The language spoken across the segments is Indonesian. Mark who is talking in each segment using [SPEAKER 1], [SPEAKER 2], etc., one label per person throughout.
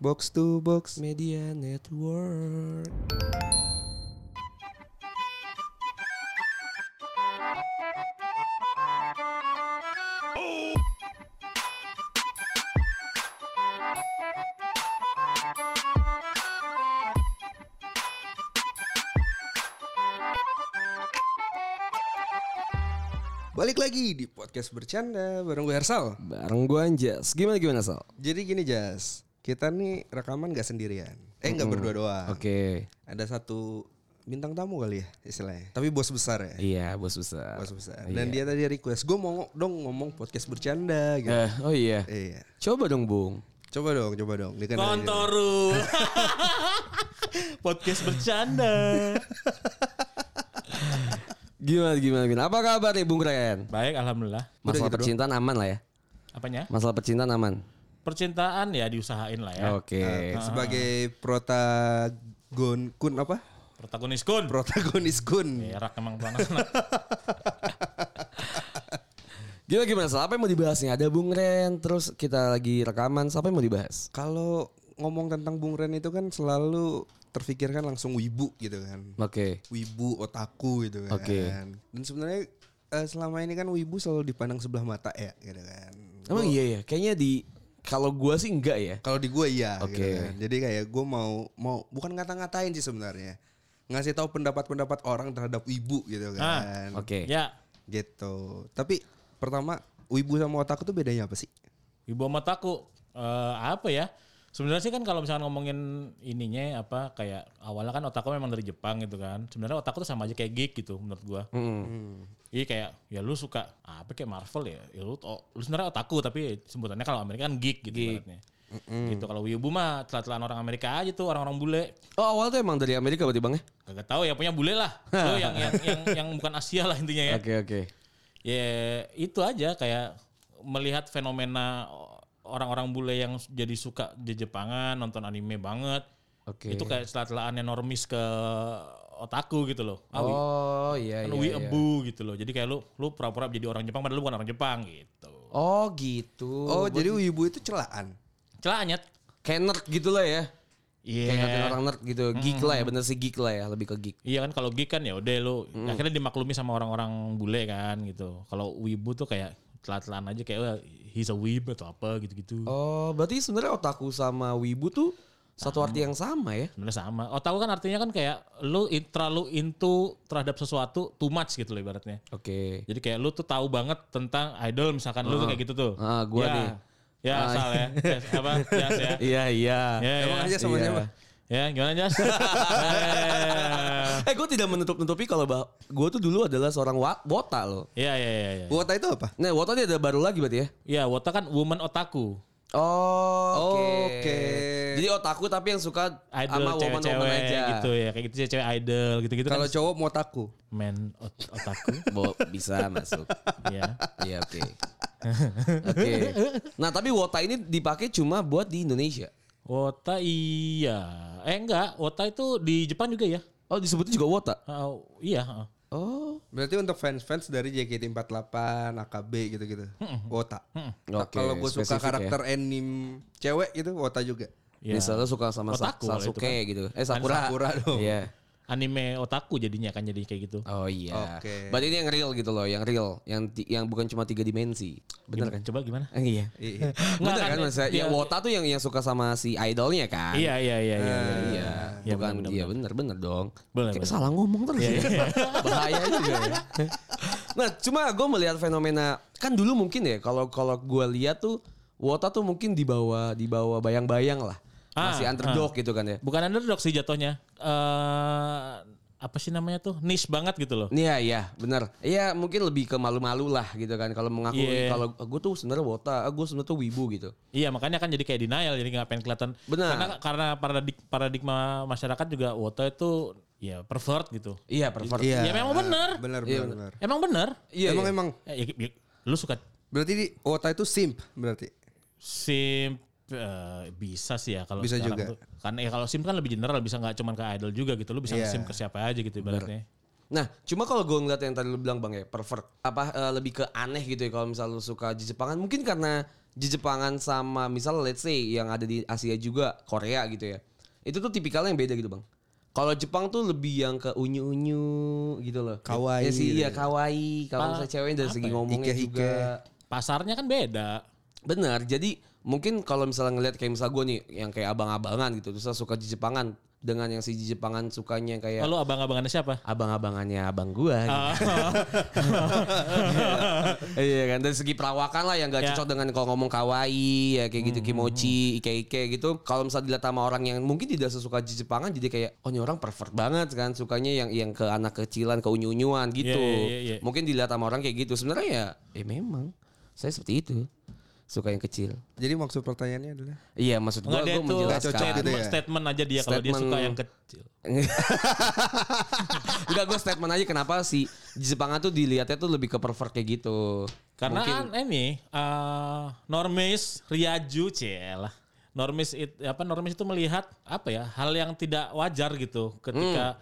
[SPEAKER 1] Box to Box Media Network. Balik lagi di podcast bercanda bareng gue Hersal.
[SPEAKER 2] Bareng gue Anjas. Gimana gimana Sal?
[SPEAKER 1] Jadi gini Jas, kita nih rekaman gak sendirian. Eh nggak berdua doang.
[SPEAKER 2] Oke.
[SPEAKER 1] Ada satu bintang tamu kali ya istilahnya. Tapi bos besar ya.
[SPEAKER 2] Iya, bos besar.
[SPEAKER 1] Bos besar. Dan dia tadi request, gue mau ngo- dong ngomong podcast bercanda gitu.
[SPEAKER 2] Eh, oh iya.
[SPEAKER 1] Iya.
[SPEAKER 2] Coba dong, Bung.
[SPEAKER 1] Coba dong, coba dong. Ini kan
[SPEAKER 3] Kontoru. Podcast bercanda.
[SPEAKER 2] Gimana gimana gimana? Apa kabar nih, Bung Ren?
[SPEAKER 3] Baik, alhamdulillah.
[SPEAKER 2] Masalah percintaan aman lah ya.
[SPEAKER 3] Apanya?
[SPEAKER 2] Masalah percintaan aman.
[SPEAKER 3] Percintaan ya diusahain lah ya.
[SPEAKER 2] Oke.
[SPEAKER 1] sebagai protagon kun apa?
[SPEAKER 3] Protagonis kun.
[SPEAKER 1] Protagonis
[SPEAKER 2] Iya.
[SPEAKER 1] kun.
[SPEAKER 3] Berak emang panas.
[SPEAKER 2] Gimana gimana Sal? Apa yang mau dibahas nih? Ada Bung Ren, terus kita lagi rekaman. Siapa yang mau dibahas?
[SPEAKER 1] Kalau ngomong tentang Bung Ren itu kan selalu terfikirkan langsung wibu gitu kan.
[SPEAKER 2] Oke.
[SPEAKER 1] Wibu otaku gitu kan.
[SPEAKER 2] Oke.
[SPEAKER 1] Dan sebenarnya eh, selama ini kan wibu selalu dipandang sebelah mata ya gitu kan.
[SPEAKER 2] Emang iya ya. Kayaknya di kalau gua sih enggak ya.
[SPEAKER 1] Kalau di gue iya
[SPEAKER 2] Oke.
[SPEAKER 1] gitu kan. Jadi kayak gue mau mau bukan ngata-ngatain sih sebenarnya. Ngasih tahu pendapat-pendapat orang terhadap wibu gitu kan.
[SPEAKER 2] Oke.
[SPEAKER 3] ya,
[SPEAKER 1] Gitu. Tapi pertama wibu sama otaku tuh bedanya apa sih?
[SPEAKER 3] Ibu Mataku eh apa ya? Sebenarnya sih kan kalau misalkan ngomongin ininya apa kayak awalnya kan otakku memang dari Jepang gitu kan. Sebenarnya otakku tuh sama aja kayak geek gitu menurut gua. Iya kayak ya lu suka apa kayak Marvel ya, ya lu, to- lu sebenarnya otakku tapi sebutannya kalau Amerika kan geek gitu ibaratnya. Gitu kalau Wibu mah telat-telan orang Amerika aja tuh orang-orang bule.
[SPEAKER 2] Oh, awal tuh emang dari Amerika berarti Bang ya?
[SPEAKER 3] Kagak tahu ya punya bule lah. Lu yang yang yang, yang bukan Asia lah intinya ya.
[SPEAKER 2] Oke, oke.
[SPEAKER 3] Ya itu aja kayak melihat fenomena orang-orang bule yang jadi suka di Jepangan nonton anime banget.
[SPEAKER 2] Oke.
[SPEAKER 3] Itu kayak setelah-telahannya normis ke otaku gitu loh. Awi.
[SPEAKER 2] Oh, iya iya. iya.
[SPEAKER 3] Abu gitu loh. Jadi kayak lu lu pura-pura jadi orang Jepang padahal lu bukan orang Jepang gitu.
[SPEAKER 2] Oh, gitu.
[SPEAKER 1] Oh, jadi wibu itu celaan.
[SPEAKER 3] Celahnya.
[SPEAKER 2] kayak nerd gitu lah ya. Kayak
[SPEAKER 3] Iya.
[SPEAKER 2] ngatain orang nerd gitu, geek lah ya, bener sih geek lah ya, lebih ke geek.
[SPEAKER 3] Iya kan kalau geek kan ya udah lu
[SPEAKER 2] Mm.
[SPEAKER 3] akhirnya dimaklumi sama orang-orang bule kan gitu. Kalau wibu tuh kayak telat-telan aja kayak "Wah, he's a weeb atau apa gitu-gitu.
[SPEAKER 2] Oh, berarti sebenarnya otaku sama wibu tuh satu arti yang sama ya?
[SPEAKER 3] sebenarnya sama. Otak kan artinya kan kayak lu in- terlalu into terhadap sesuatu too much gitu loh ibaratnya.
[SPEAKER 2] Oke.
[SPEAKER 3] Jadi kayak lu tuh tahu banget tentang idol misalkan lu tuh kayak gitu tuh.
[SPEAKER 2] Ah, gua
[SPEAKER 3] ya.
[SPEAKER 2] nih.
[SPEAKER 3] Ya,
[SPEAKER 2] Ah.
[SPEAKER 3] asal ya. Jas, apa? Jas ya.
[SPEAKER 2] Iya iya.
[SPEAKER 3] Ya,
[SPEAKER 1] Emang aja
[SPEAKER 3] ya.
[SPEAKER 1] sama
[SPEAKER 2] Iya.
[SPEAKER 1] siapa?
[SPEAKER 3] Ya, gimana Jas?
[SPEAKER 2] Eh, gue tidak menutup-nutupi kalau gue tuh dulu adalah seorang wa- wota loh.
[SPEAKER 3] Ya, ya, ya, ya.
[SPEAKER 1] Wota itu apa?
[SPEAKER 2] Nah, wota dia ada baru lagi berarti ya?
[SPEAKER 3] Ya, Wota kan woman otaku.
[SPEAKER 2] Oh, oke.
[SPEAKER 1] Oke.
[SPEAKER 2] Jadi otaku tapi yang suka sama
[SPEAKER 3] Idol
[SPEAKER 2] woman-woman
[SPEAKER 3] cewek-cewek
[SPEAKER 2] aja.
[SPEAKER 3] gitu ya, kayak gitu cewek-cewek idol gitu-gitu
[SPEAKER 1] Kalau
[SPEAKER 3] kan.
[SPEAKER 1] cowok motaku.
[SPEAKER 3] Men ot- otaku.
[SPEAKER 2] Bo, bisa masuk.
[SPEAKER 3] ya.
[SPEAKER 2] Iya, oke. Oke. Nah, tapi wota ini dipakai cuma buat di Indonesia.
[SPEAKER 3] Wota iya. Eh enggak, Wota itu di Jepang juga ya.
[SPEAKER 2] Oh, disebutnya juga wota.
[SPEAKER 3] Ah, iya, heeh.
[SPEAKER 2] Oh,
[SPEAKER 1] Berarti untuk fans-fans dari JKT48, AKB gitu-gitu. Wota. Nah,
[SPEAKER 2] Oke,
[SPEAKER 1] Kalau gue suka
[SPEAKER 2] spesifik ya.
[SPEAKER 1] karakter anime cewek gitu, wota juga.
[SPEAKER 3] Iya.
[SPEAKER 2] Misalnya suka sama Sa-
[SPEAKER 3] Otaku lah itu kan.
[SPEAKER 2] Sasuke gitu. Eh Sakura.
[SPEAKER 1] Sakura dong.
[SPEAKER 2] Iya.
[SPEAKER 3] Anime otaku jadinya kan jadi kayak gitu.
[SPEAKER 2] Oh iya.
[SPEAKER 1] Oke.
[SPEAKER 2] Berarti ini yang real gitu loh, yang real, yang ti- yang bukan cuma tiga dimensi. Bener kan?
[SPEAKER 3] Coba gimana?
[SPEAKER 2] Eh, iya.
[SPEAKER 1] Iya.
[SPEAKER 3] Nggak,
[SPEAKER 2] Bener kan
[SPEAKER 3] kan,
[SPEAKER 2] maksudnya? Ya
[SPEAKER 3] dia-
[SPEAKER 2] Wota tuh yang yang suka sama si idolnya kan?
[SPEAKER 3] Iya, iya, iya, iya.
[SPEAKER 2] Iya.
[SPEAKER 3] Iya,
[SPEAKER 2] bukan
[SPEAKER 3] bener, Iya, bener,
[SPEAKER 2] iya bener bener dong.
[SPEAKER 3] Bener,
[SPEAKER 2] Kita
[SPEAKER 3] bener.
[SPEAKER 2] salah ngomong terus. ya. Bahaya juga ya. Nah, cuma gue melihat fenomena kan dulu mungkin ya kalau kalau gue lihat tuh Wota tuh mungkin di bawah di bawah bayang-bayang lah.
[SPEAKER 3] Ah,
[SPEAKER 2] Masih underdog gitu kan ya.
[SPEAKER 3] Bukan underdog sih jatuhnya. Eh apa sih namanya tuh? Niche banget gitu loh.
[SPEAKER 2] Iya iya benar. Iya mungkin lebih ke malu-malu lah gitu kan kalau mengaku
[SPEAKER 3] Iya.
[SPEAKER 2] kalau gue tuh sebenarnya wota, gue sebenarnya tuh wibu gitu.
[SPEAKER 3] Iya, makanya kan jadi kayak denial, jadi nggak pengen kelihatan.
[SPEAKER 2] Benar.
[SPEAKER 3] Karena karena paradig- paradigma masyarakat juga Wota itu ya pervert gitu.
[SPEAKER 2] Iya pervert.
[SPEAKER 1] Iya.
[SPEAKER 3] Ya, memang bener.
[SPEAKER 1] Bener, bener, bener.
[SPEAKER 3] Emang bener?
[SPEAKER 2] Iya,
[SPEAKER 1] emang
[SPEAKER 2] iya.
[SPEAKER 1] emang
[SPEAKER 3] Eh, ya- ya- lu suka
[SPEAKER 1] berarti di, wota itu simp berarti.
[SPEAKER 3] Simp eh, bisa sih ya kalau
[SPEAKER 1] Bisa
[SPEAKER 3] sekarang
[SPEAKER 1] juga.
[SPEAKER 3] tuh. Kan ya kalau simp kan lebih general bisa nggak cuman ke idol juga gitu. Lu bisa
[SPEAKER 1] Iya.
[SPEAKER 3] simp ke siapa aja gitu ibaratnya.
[SPEAKER 2] Nah cuma kalau gue ngeliat yang tadi lu bilang bang ya pervert apa eh, lebih ke aneh gitu ya kalau misalnya lu suka di Jepangan mungkin karena Jejepangan sama misal let's say yang ada di Asia juga Korea gitu ya. Itu tuh tipikalnya yang beda gitu bang. Kalau Jepang tuh lebih yang ke unyu-unyu gitu loh.
[SPEAKER 1] Kawaii
[SPEAKER 2] Ya sih,
[SPEAKER 1] gitu
[SPEAKER 2] iya kawaii. Kalau
[SPEAKER 3] Pa-
[SPEAKER 2] misalnya cewek dari
[SPEAKER 3] apa
[SPEAKER 2] segi
[SPEAKER 3] ya?
[SPEAKER 2] ngomongnya
[SPEAKER 1] Ike-ike.
[SPEAKER 2] juga.
[SPEAKER 3] Pasarnya kan beda.
[SPEAKER 2] Benar. Jadi mungkin kalau misalnya ngelihat kayak misal gue nih yang kayak abang-abangan gitu terus saya suka jejepangan dengan yang si jejepangan sukanya yang kayak
[SPEAKER 3] Lalu abang-abangannya siapa?
[SPEAKER 2] abang-abangannya abang gua gitu.
[SPEAKER 3] Ah.
[SPEAKER 2] Iya kan dari segi perawakan lah yang gak
[SPEAKER 3] Ya. Hmm.
[SPEAKER 2] cocok dengan kalau ngomong kawaii ya kayak gitu kimochi ike-ike gitu kalau misalnya dilihat sama orang yang mungkin tidak sesuka di Jepangan jadi kayak oh ini orang pervert banget kan sukanya yang yang ke anak kecilan ke unyu-unyuan gitu
[SPEAKER 3] Iya, iya, iya, iya.
[SPEAKER 2] mungkin dilihat sama orang kayak gitu sebenarnya ya eh memang saya seperti itu suka yang kecil
[SPEAKER 1] Jadi maksud pertanyaannya adalah
[SPEAKER 2] iya maksud gua
[SPEAKER 3] Enggak dia
[SPEAKER 2] gua
[SPEAKER 3] tuh
[SPEAKER 2] menjelaskan
[SPEAKER 1] cocok gitu
[SPEAKER 3] statement,
[SPEAKER 1] ya?
[SPEAKER 3] statement aja dia kalau dia
[SPEAKER 2] Statement.
[SPEAKER 3] suka yang kecil.
[SPEAKER 2] Enggak gue statement aja kenapa si Jepangan tuh dilihatnya tuh lebih ke pervert kayak gitu
[SPEAKER 3] Karena
[SPEAKER 2] Mungkin-
[SPEAKER 3] an- ini eh, Normis Riaju Ciela. Normis it, apa Normis itu melihat apa ya hal yang tidak wajar gitu ketika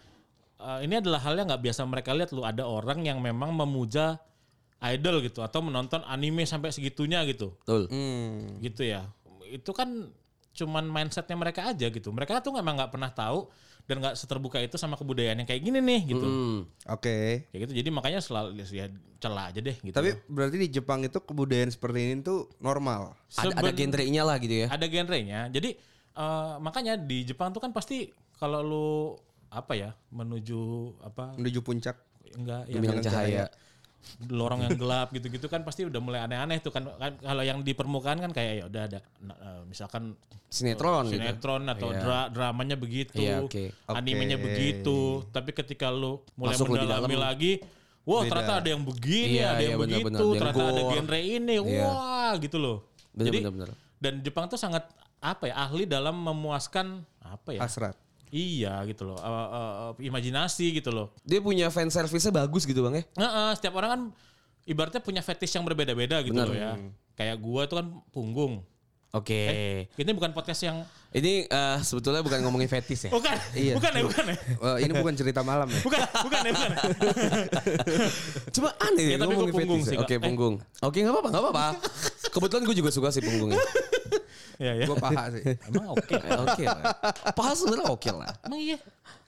[SPEAKER 2] Hmm.
[SPEAKER 3] eh, ini adalah hal yang nggak biasa mereka lihat lu ada orang yang memang memuja idol gitu atau menonton anime sampai segitunya gitu
[SPEAKER 2] betul
[SPEAKER 1] hmm,
[SPEAKER 3] gitu ya itu kan cuman mindsetnya mereka aja gitu mereka tuh memang nggak pernah tahu dan nggak seterbuka itu sama kebudayaan yang kayak gini nih gitu
[SPEAKER 2] Hmm.
[SPEAKER 1] oke.
[SPEAKER 3] kayak gitu jadi makanya selalu ya celah aja deh gitu
[SPEAKER 1] Tapi berarti di Jepang itu kebudayaan seperti ini tuh normal.
[SPEAKER 2] ada, ada
[SPEAKER 3] Seben-
[SPEAKER 2] genre-nya lah gitu ya
[SPEAKER 3] ada genrenya. Jadi eh, makanya di Jepang tuh kan pasti kalau lu apa ya menuju apa
[SPEAKER 1] Menuju puncak.
[SPEAKER 3] enggak ya
[SPEAKER 2] Gemilang cahaya.
[SPEAKER 3] lorong yang gelap gitu-gitu kan pasti udah mulai aneh-aneh tuh kan, kan kalau yang di permukaan kan kayak ya udah ada na- eh, misalkan
[SPEAKER 2] Sinetron, gitu.
[SPEAKER 3] sinetron atau dra- dramanya begitu,
[SPEAKER 2] Iya, oke.
[SPEAKER 3] animenya
[SPEAKER 1] Oke.
[SPEAKER 3] begitu. Tapi ketika lu mulai
[SPEAKER 2] Masuk lebih
[SPEAKER 3] mendalami
[SPEAKER 2] dalam.
[SPEAKER 3] lagi, wah ternyata ada yang
[SPEAKER 2] Iya,
[SPEAKER 3] begini, ada
[SPEAKER 2] iya,
[SPEAKER 3] yang
[SPEAKER 2] benar-benar.
[SPEAKER 3] begitu,
[SPEAKER 2] Yang
[SPEAKER 3] ternyata ada
[SPEAKER 2] gore.
[SPEAKER 3] genre ini,
[SPEAKER 2] Iya.
[SPEAKER 3] wah gitu loh.
[SPEAKER 2] Benar,
[SPEAKER 3] Jadi
[SPEAKER 2] benar, benar.
[SPEAKER 3] dan Jepang tuh sangat apa ya ahli dalam memuaskan apa ya?
[SPEAKER 1] Hasrat.
[SPEAKER 3] Iya gitu loh, eh, eh, eh, imajinasi gitu loh.
[SPEAKER 2] Dia punya fan service-nya bagus gitu bang ya.
[SPEAKER 3] Nah, eh, setiap orang kan ibaratnya punya fetish yang berbeda-beda gitu
[SPEAKER 2] Benar. Hmm.
[SPEAKER 3] loh ya. Kayak gua itu kan punggung. Eh,
[SPEAKER 2] Oke.
[SPEAKER 3] Ini bukan podcast yang
[SPEAKER 2] Ini eh, sebetulnya bukan ngomongin fetis ya.
[SPEAKER 3] bukan,
[SPEAKER 1] Iya.
[SPEAKER 3] bukan ya, bukan ya.
[SPEAKER 1] Eh, ini bukan cerita malam ya.
[SPEAKER 3] Bukan, bukan ya, bukan.
[SPEAKER 2] Cuma aneh
[SPEAKER 3] Ya, tapi
[SPEAKER 2] ngomongin
[SPEAKER 3] gua punggung
[SPEAKER 2] fetish ya.
[SPEAKER 3] sih, Kak.
[SPEAKER 2] Oke
[SPEAKER 3] Eh.
[SPEAKER 2] punggung. Oke nggak apa-apa nggak apa-apa. Kebetulan gue juga suka sih punggungnya.
[SPEAKER 3] Iya, iya.
[SPEAKER 1] Gue paha sih.
[SPEAKER 3] Emang oke.
[SPEAKER 2] Eh, Oke lah. Paha sebenarnya oke lah.
[SPEAKER 3] Emang iya.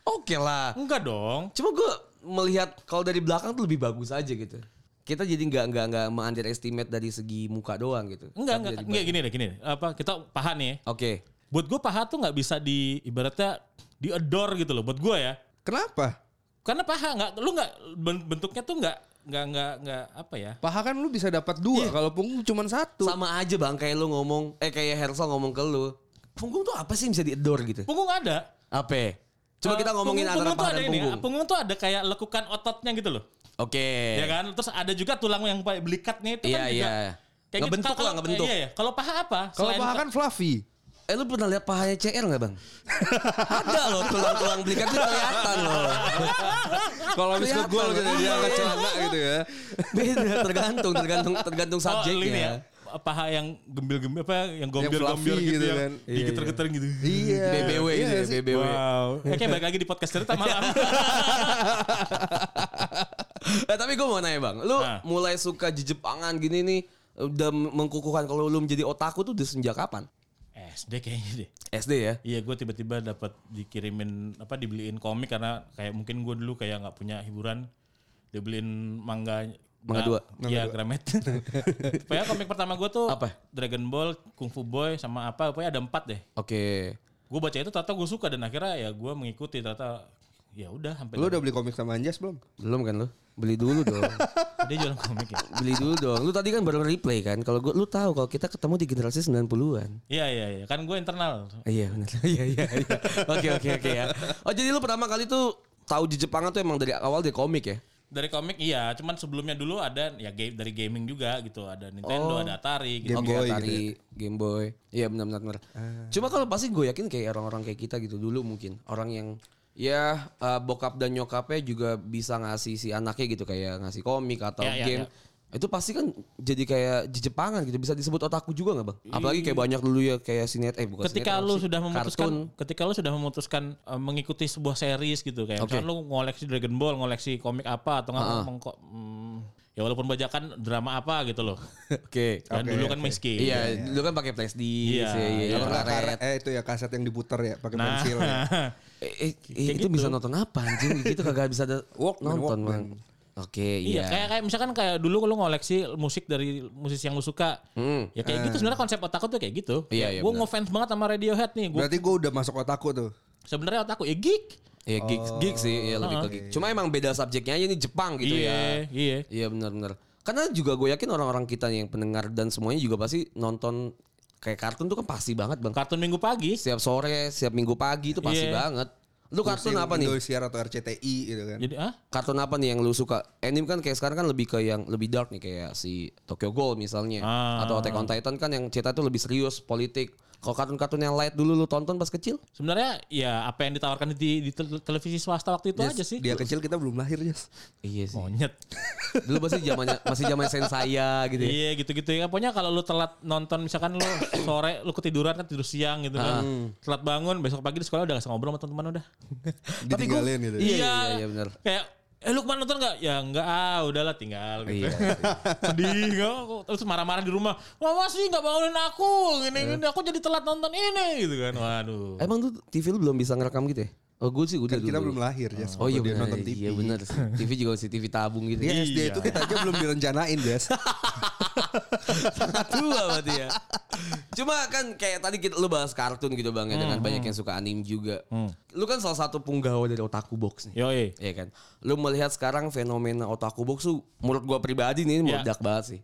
[SPEAKER 2] Oke lah.
[SPEAKER 3] Enggak dong.
[SPEAKER 2] Cuma gue melihat kalau dari belakang tuh lebih bagus aja gitu. Kita jadi nggak nggak nggak me-underestimate dari segi muka doang gitu.
[SPEAKER 3] Enggak,
[SPEAKER 2] Tapi
[SPEAKER 3] enggak,
[SPEAKER 2] dari
[SPEAKER 3] enggak
[SPEAKER 2] belakang.
[SPEAKER 3] gini deh, gini deh. Apa kita paha nih. ya.
[SPEAKER 2] Oke.
[SPEAKER 3] Buat gue paha tuh nggak bisa di ibaratnya di adore gitu loh buat gue ya.
[SPEAKER 1] Kenapa?
[SPEAKER 3] Karena paha nggak lu nggak ben- bentuknya tuh nggak nggak nggak nggak apa ya?
[SPEAKER 1] Paha kan lu bisa dapat dua, kalau punggung cuma satu.
[SPEAKER 2] Sama aja bang kayak lu ngomong, eh kayak Hersal ngomong ke lu. Punggung tuh apa sih yang bisa di adore gitu?
[SPEAKER 3] Punggung ada.
[SPEAKER 2] Apa? Coba kita
[SPEAKER 3] Eh,
[SPEAKER 2] ngomongin
[SPEAKER 3] punggung-
[SPEAKER 2] antara
[SPEAKER 3] punggung tuh
[SPEAKER 2] paha
[SPEAKER 3] ada
[SPEAKER 2] dan
[SPEAKER 3] ini,
[SPEAKER 2] punggung.
[SPEAKER 3] Punggung tuh ada kayak lekukan ototnya gitu loh.
[SPEAKER 2] Oke.
[SPEAKER 3] Ya kan? Terus ada juga tulang yang paling belikatnya itu
[SPEAKER 2] Iya,
[SPEAKER 3] kan juga.
[SPEAKER 2] iya.
[SPEAKER 3] Kayak gitu.
[SPEAKER 2] Ngebentuk
[SPEAKER 3] Kalau-
[SPEAKER 2] lah, ngebentuk.
[SPEAKER 3] Iya, iya. Kalau paha apa?
[SPEAKER 1] Kalau
[SPEAKER 3] Selain-
[SPEAKER 1] paha kan fluffy.
[SPEAKER 2] Eh lu pernah lihat pahanya CR nggak bang? Ada loh tulang-tulang belikat tuh kelihatan loh.
[SPEAKER 1] Kalau habis ke gol gitu dia angkat celana gitu ya.
[SPEAKER 2] Beda tergantung tergantung tergantung
[SPEAKER 3] Oh,
[SPEAKER 2] subjeknya.
[SPEAKER 3] ini ya. Paha yang gembil-gembil apa
[SPEAKER 1] fluffy
[SPEAKER 3] yang gombil-gombil gitu,
[SPEAKER 1] gitu
[SPEAKER 3] yang
[SPEAKER 1] kan.
[SPEAKER 2] Iya,
[SPEAKER 3] digeter-geter gitu.
[SPEAKER 1] Iya.
[SPEAKER 2] BBW
[SPEAKER 1] Iya
[SPEAKER 2] ini ya,
[SPEAKER 1] sih.
[SPEAKER 2] BBW.
[SPEAKER 3] Wow. Oke, balik lagi di podcast cerita malam.
[SPEAKER 2] Eh, tapi gue mau nanya bang, lu
[SPEAKER 3] Nah.
[SPEAKER 2] mulai suka jejepangan gini nih, udah mengkukuhkan kalau lu menjadi otakku tuh udah sejak kapan?
[SPEAKER 3] SD kayaknya deh.
[SPEAKER 2] SD ya?
[SPEAKER 3] Iya, gue tiba-tiba dapat dikirimin apa dibeliin komik karena kayak mungkin gue dulu kayak nggak punya hiburan dibeliin manga
[SPEAKER 2] Manga dua.
[SPEAKER 3] Iya, Gramet. Pokoknya komik pertama gue tuh
[SPEAKER 2] Apa?
[SPEAKER 3] Dragon Ball, Kung Fu Boy sama apa, pokoknya ada empat deh.
[SPEAKER 2] Oke.
[SPEAKER 3] Gue baca itu ternyata gue suka dan akhirnya ya gue mengikuti ternyata ya udah sampai
[SPEAKER 1] Lu udah beli komik sama Anjas belum?
[SPEAKER 2] Belum kan lu? Beli dulu dong.
[SPEAKER 3] dia jualan komik ya.
[SPEAKER 2] Beli dulu dong. Lu tadi kan baru replay kan. Kalau gua lu tahu kalau kita ketemu di generasi 90-an.
[SPEAKER 3] Iya iya iya kan gue internal.
[SPEAKER 2] Ah, Iya benar. Iya iya iya. Oke oke oke ya. Oh jadi lu pertama kali tuh tahu di Jepangan tuh emang dari awal dari komik ya?
[SPEAKER 3] Dari komik iya, cuman sebelumnya dulu ada ya game dari gaming juga gitu, ada Nintendo, ada Atari gitu.
[SPEAKER 1] Game
[SPEAKER 2] Oke,
[SPEAKER 1] Boy ya. Ah.
[SPEAKER 2] Atari, Game Boy. Iya benar benar. benar. Cuma kalau pasti gue yakin kayak orang-orang kayak kita gitu dulu mungkin orang yang ya eh, bokap dan nyokapnya juga bisa ngasih si anaknya gitu kayak ngasih komik atau
[SPEAKER 3] Ya, ya,
[SPEAKER 2] game. Itu pasti kan jadi kayak di Jepangan gitu bisa disebut otakku juga nggak bang? Apalagi kayak banyak dulu ya kayak sinet eh bukan
[SPEAKER 3] Iya. ketika
[SPEAKER 2] sinetron
[SPEAKER 3] lu
[SPEAKER 2] sih,
[SPEAKER 3] sudah memutuskan
[SPEAKER 2] kartun.
[SPEAKER 3] ketika lu sudah memutuskan eh, mengikuti sebuah series gitu kayak
[SPEAKER 2] Oke.
[SPEAKER 3] misalnya lu ngoleksi Dragon Ball, ngoleksi komik apa atau nggak mengko- mm, ya walaupun bajakan drama apa gitu loh.
[SPEAKER 2] Oke.
[SPEAKER 3] Dan
[SPEAKER 1] Oke,
[SPEAKER 3] dulu
[SPEAKER 1] oke.
[SPEAKER 3] kan miskin.
[SPEAKER 2] Iya, dulu kan pakai flash disk,
[SPEAKER 3] Iya.
[SPEAKER 2] ya, iya, iya,
[SPEAKER 1] Kalau nggak karet,
[SPEAKER 2] karet.
[SPEAKER 1] eh itu ya kaset yang diputer ya pakai
[SPEAKER 3] Nah,
[SPEAKER 1] pensil. Ya.
[SPEAKER 2] Eh, eh, eh, itu bisa nonton apa anjing? Gitu kagak bisa ada
[SPEAKER 1] gitu. Walkman,
[SPEAKER 2] nonton,
[SPEAKER 1] Walkman.
[SPEAKER 2] Bang. Oke,
[SPEAKER 3] iya,
[SPEAKER 2] iya.
[SPEAKER 3] kayak kayak misalkan kayak dulu lu ngoleksi musik dari musisi yang lu suka.
[SPEAKER 2] Hmm.
[SPEAKER 3] Ya kayak gitu sebenarnya konsep otakku tuh kayak gitu.
[SPEAKER 2] Iya, iya,
[SPEAKER 3] gue
[SPEAKER 2] benar.
[SPEAKER 3] ngefans banget sama Radiohead nih. Gua
[SPEAKER 1] Berarti gue udah masuk otakku tuh.
[SPEAKER 3] sebenarnya otakku ya geek.
[SPEAKER 2] Ya gig
[SPEAKER 1] Oh.
[SPEAKER 2] gig sih, ya lebih ke gig. Cuma emang beda subjeknya aja nih Jepang gitu ya.
[SPEAKER 3] Ah, iya, iya.
[SPEAKER 2] Iya benar-benar. Karena juga gue yakin orang-orang kita yang pendengar dan semuanya juga pasti nonton kayak kartun tuh kan pasti banget bang.
[SPEAKER 3] Kartun Minggu pagi.
[SPEAKER 2] Setiap sore, setiap minggu pagi itu pasti
[SPEAKER 3] Iya.
[SPEAKER 2] banget. Lu kartun apa nih?
[SPEAKER 1] Indosiar atau RCTI gitu kan.
[SPEAKER 3] Jadi ah,
[SPEAKER 2] Kartun apa nih yang lu suka? Anime kan kayak sekarang kan lebih ke yang lebih dark nih kayak si Tokyo Ghoul misalnya
[SPEAKER 3] Ah.
[SPEAKER 2] atau Attack on Titan kan yang cerita tuh lebih serius politik. Kalau kartun-kartun yang light dulu lu tonton pas kecil?
[SPEAKER 3] sebenarnya ya apa yang ditawarkan di, di tel- televisi swasta waktu itu
[SPEAKER 1] Yes,
[SPEAKER 3] aja sih.
[SPEAKER 1] Dia kecil kita belum lahir, Jas.
[SPEAKER 2] Iya sih.
[SPEAKER 3] Monyet.
[SPEAKER 2] Dulu pasti zamannya masih zaman Sensaya gitu ya.
[SPEAKER 3] Iya gitu-gitu ya. Pokoknya kalau lu telat nonton misalkan lu sore lu ketiduran kan tidur siang gitu kan.
[SPEAKER 2] Hmm.
[SPEAKER 3] Telat bangun besok pagi di sekolah udah gak usah ngobrol sama teman-teman udah.
[SPEAKER 1] Ditinggalin gitu.
[SPEAKER 2] Iya, iya, iya, benar.
[SPEAKER 3] Kayak eh lu kemarin nonton gak? Ya enggak ah udahlah tinggal gitu.
[SPEAKER 2] Iya.
[SPEAKER 3] Sedih gak? aku. Terus marah-marah di rumah. Mama sih gak bangunin aku gini gini
[SPEAKER 2] Iya.
[SPEAKER 3] aku jadi telat nonton ini gitu kan. Waduh.
[SPEAKER 2] Emang tuh TV lu belum bisa ngerekam gitu ya? Oh gue sih udah
[SPEAKER 1] Kan
[SPEAKER 2] dulu.
[SPEAKER 1] kita belum lahir, Jas.
[SPEAKER 2] Oh iya
[SPEAKER 1] Kalau dia
[SPEAKER 2] benar.
[SPEAKER 1] nonton TV.
[SPEAKER 2] Iya benar. TV juga masih TV tabung gitu.
[SPEAKER 1] Dia
[SPEAKER 2] Iya.
[SPEAKER 1] SD itu kita aja belum direncanain, Jas.
[SPEAKER 2] Tua berarti ya. Cuma kan kayak tadi kita lu bahas kartun gitu Bang ya dengan banyak yang suka anime juga. Lu kan salah satu punggawa dari Otaku Box nih.
[SPEAKER 3] Yoi.
[SPEAKER 2] Iya kan. Lu melihat sekarang fenomena Otaku Box tuh menurut gua pribadi nih
[SPEAKER 1] Iya.
[SPEAKER 2] meledak banget sih.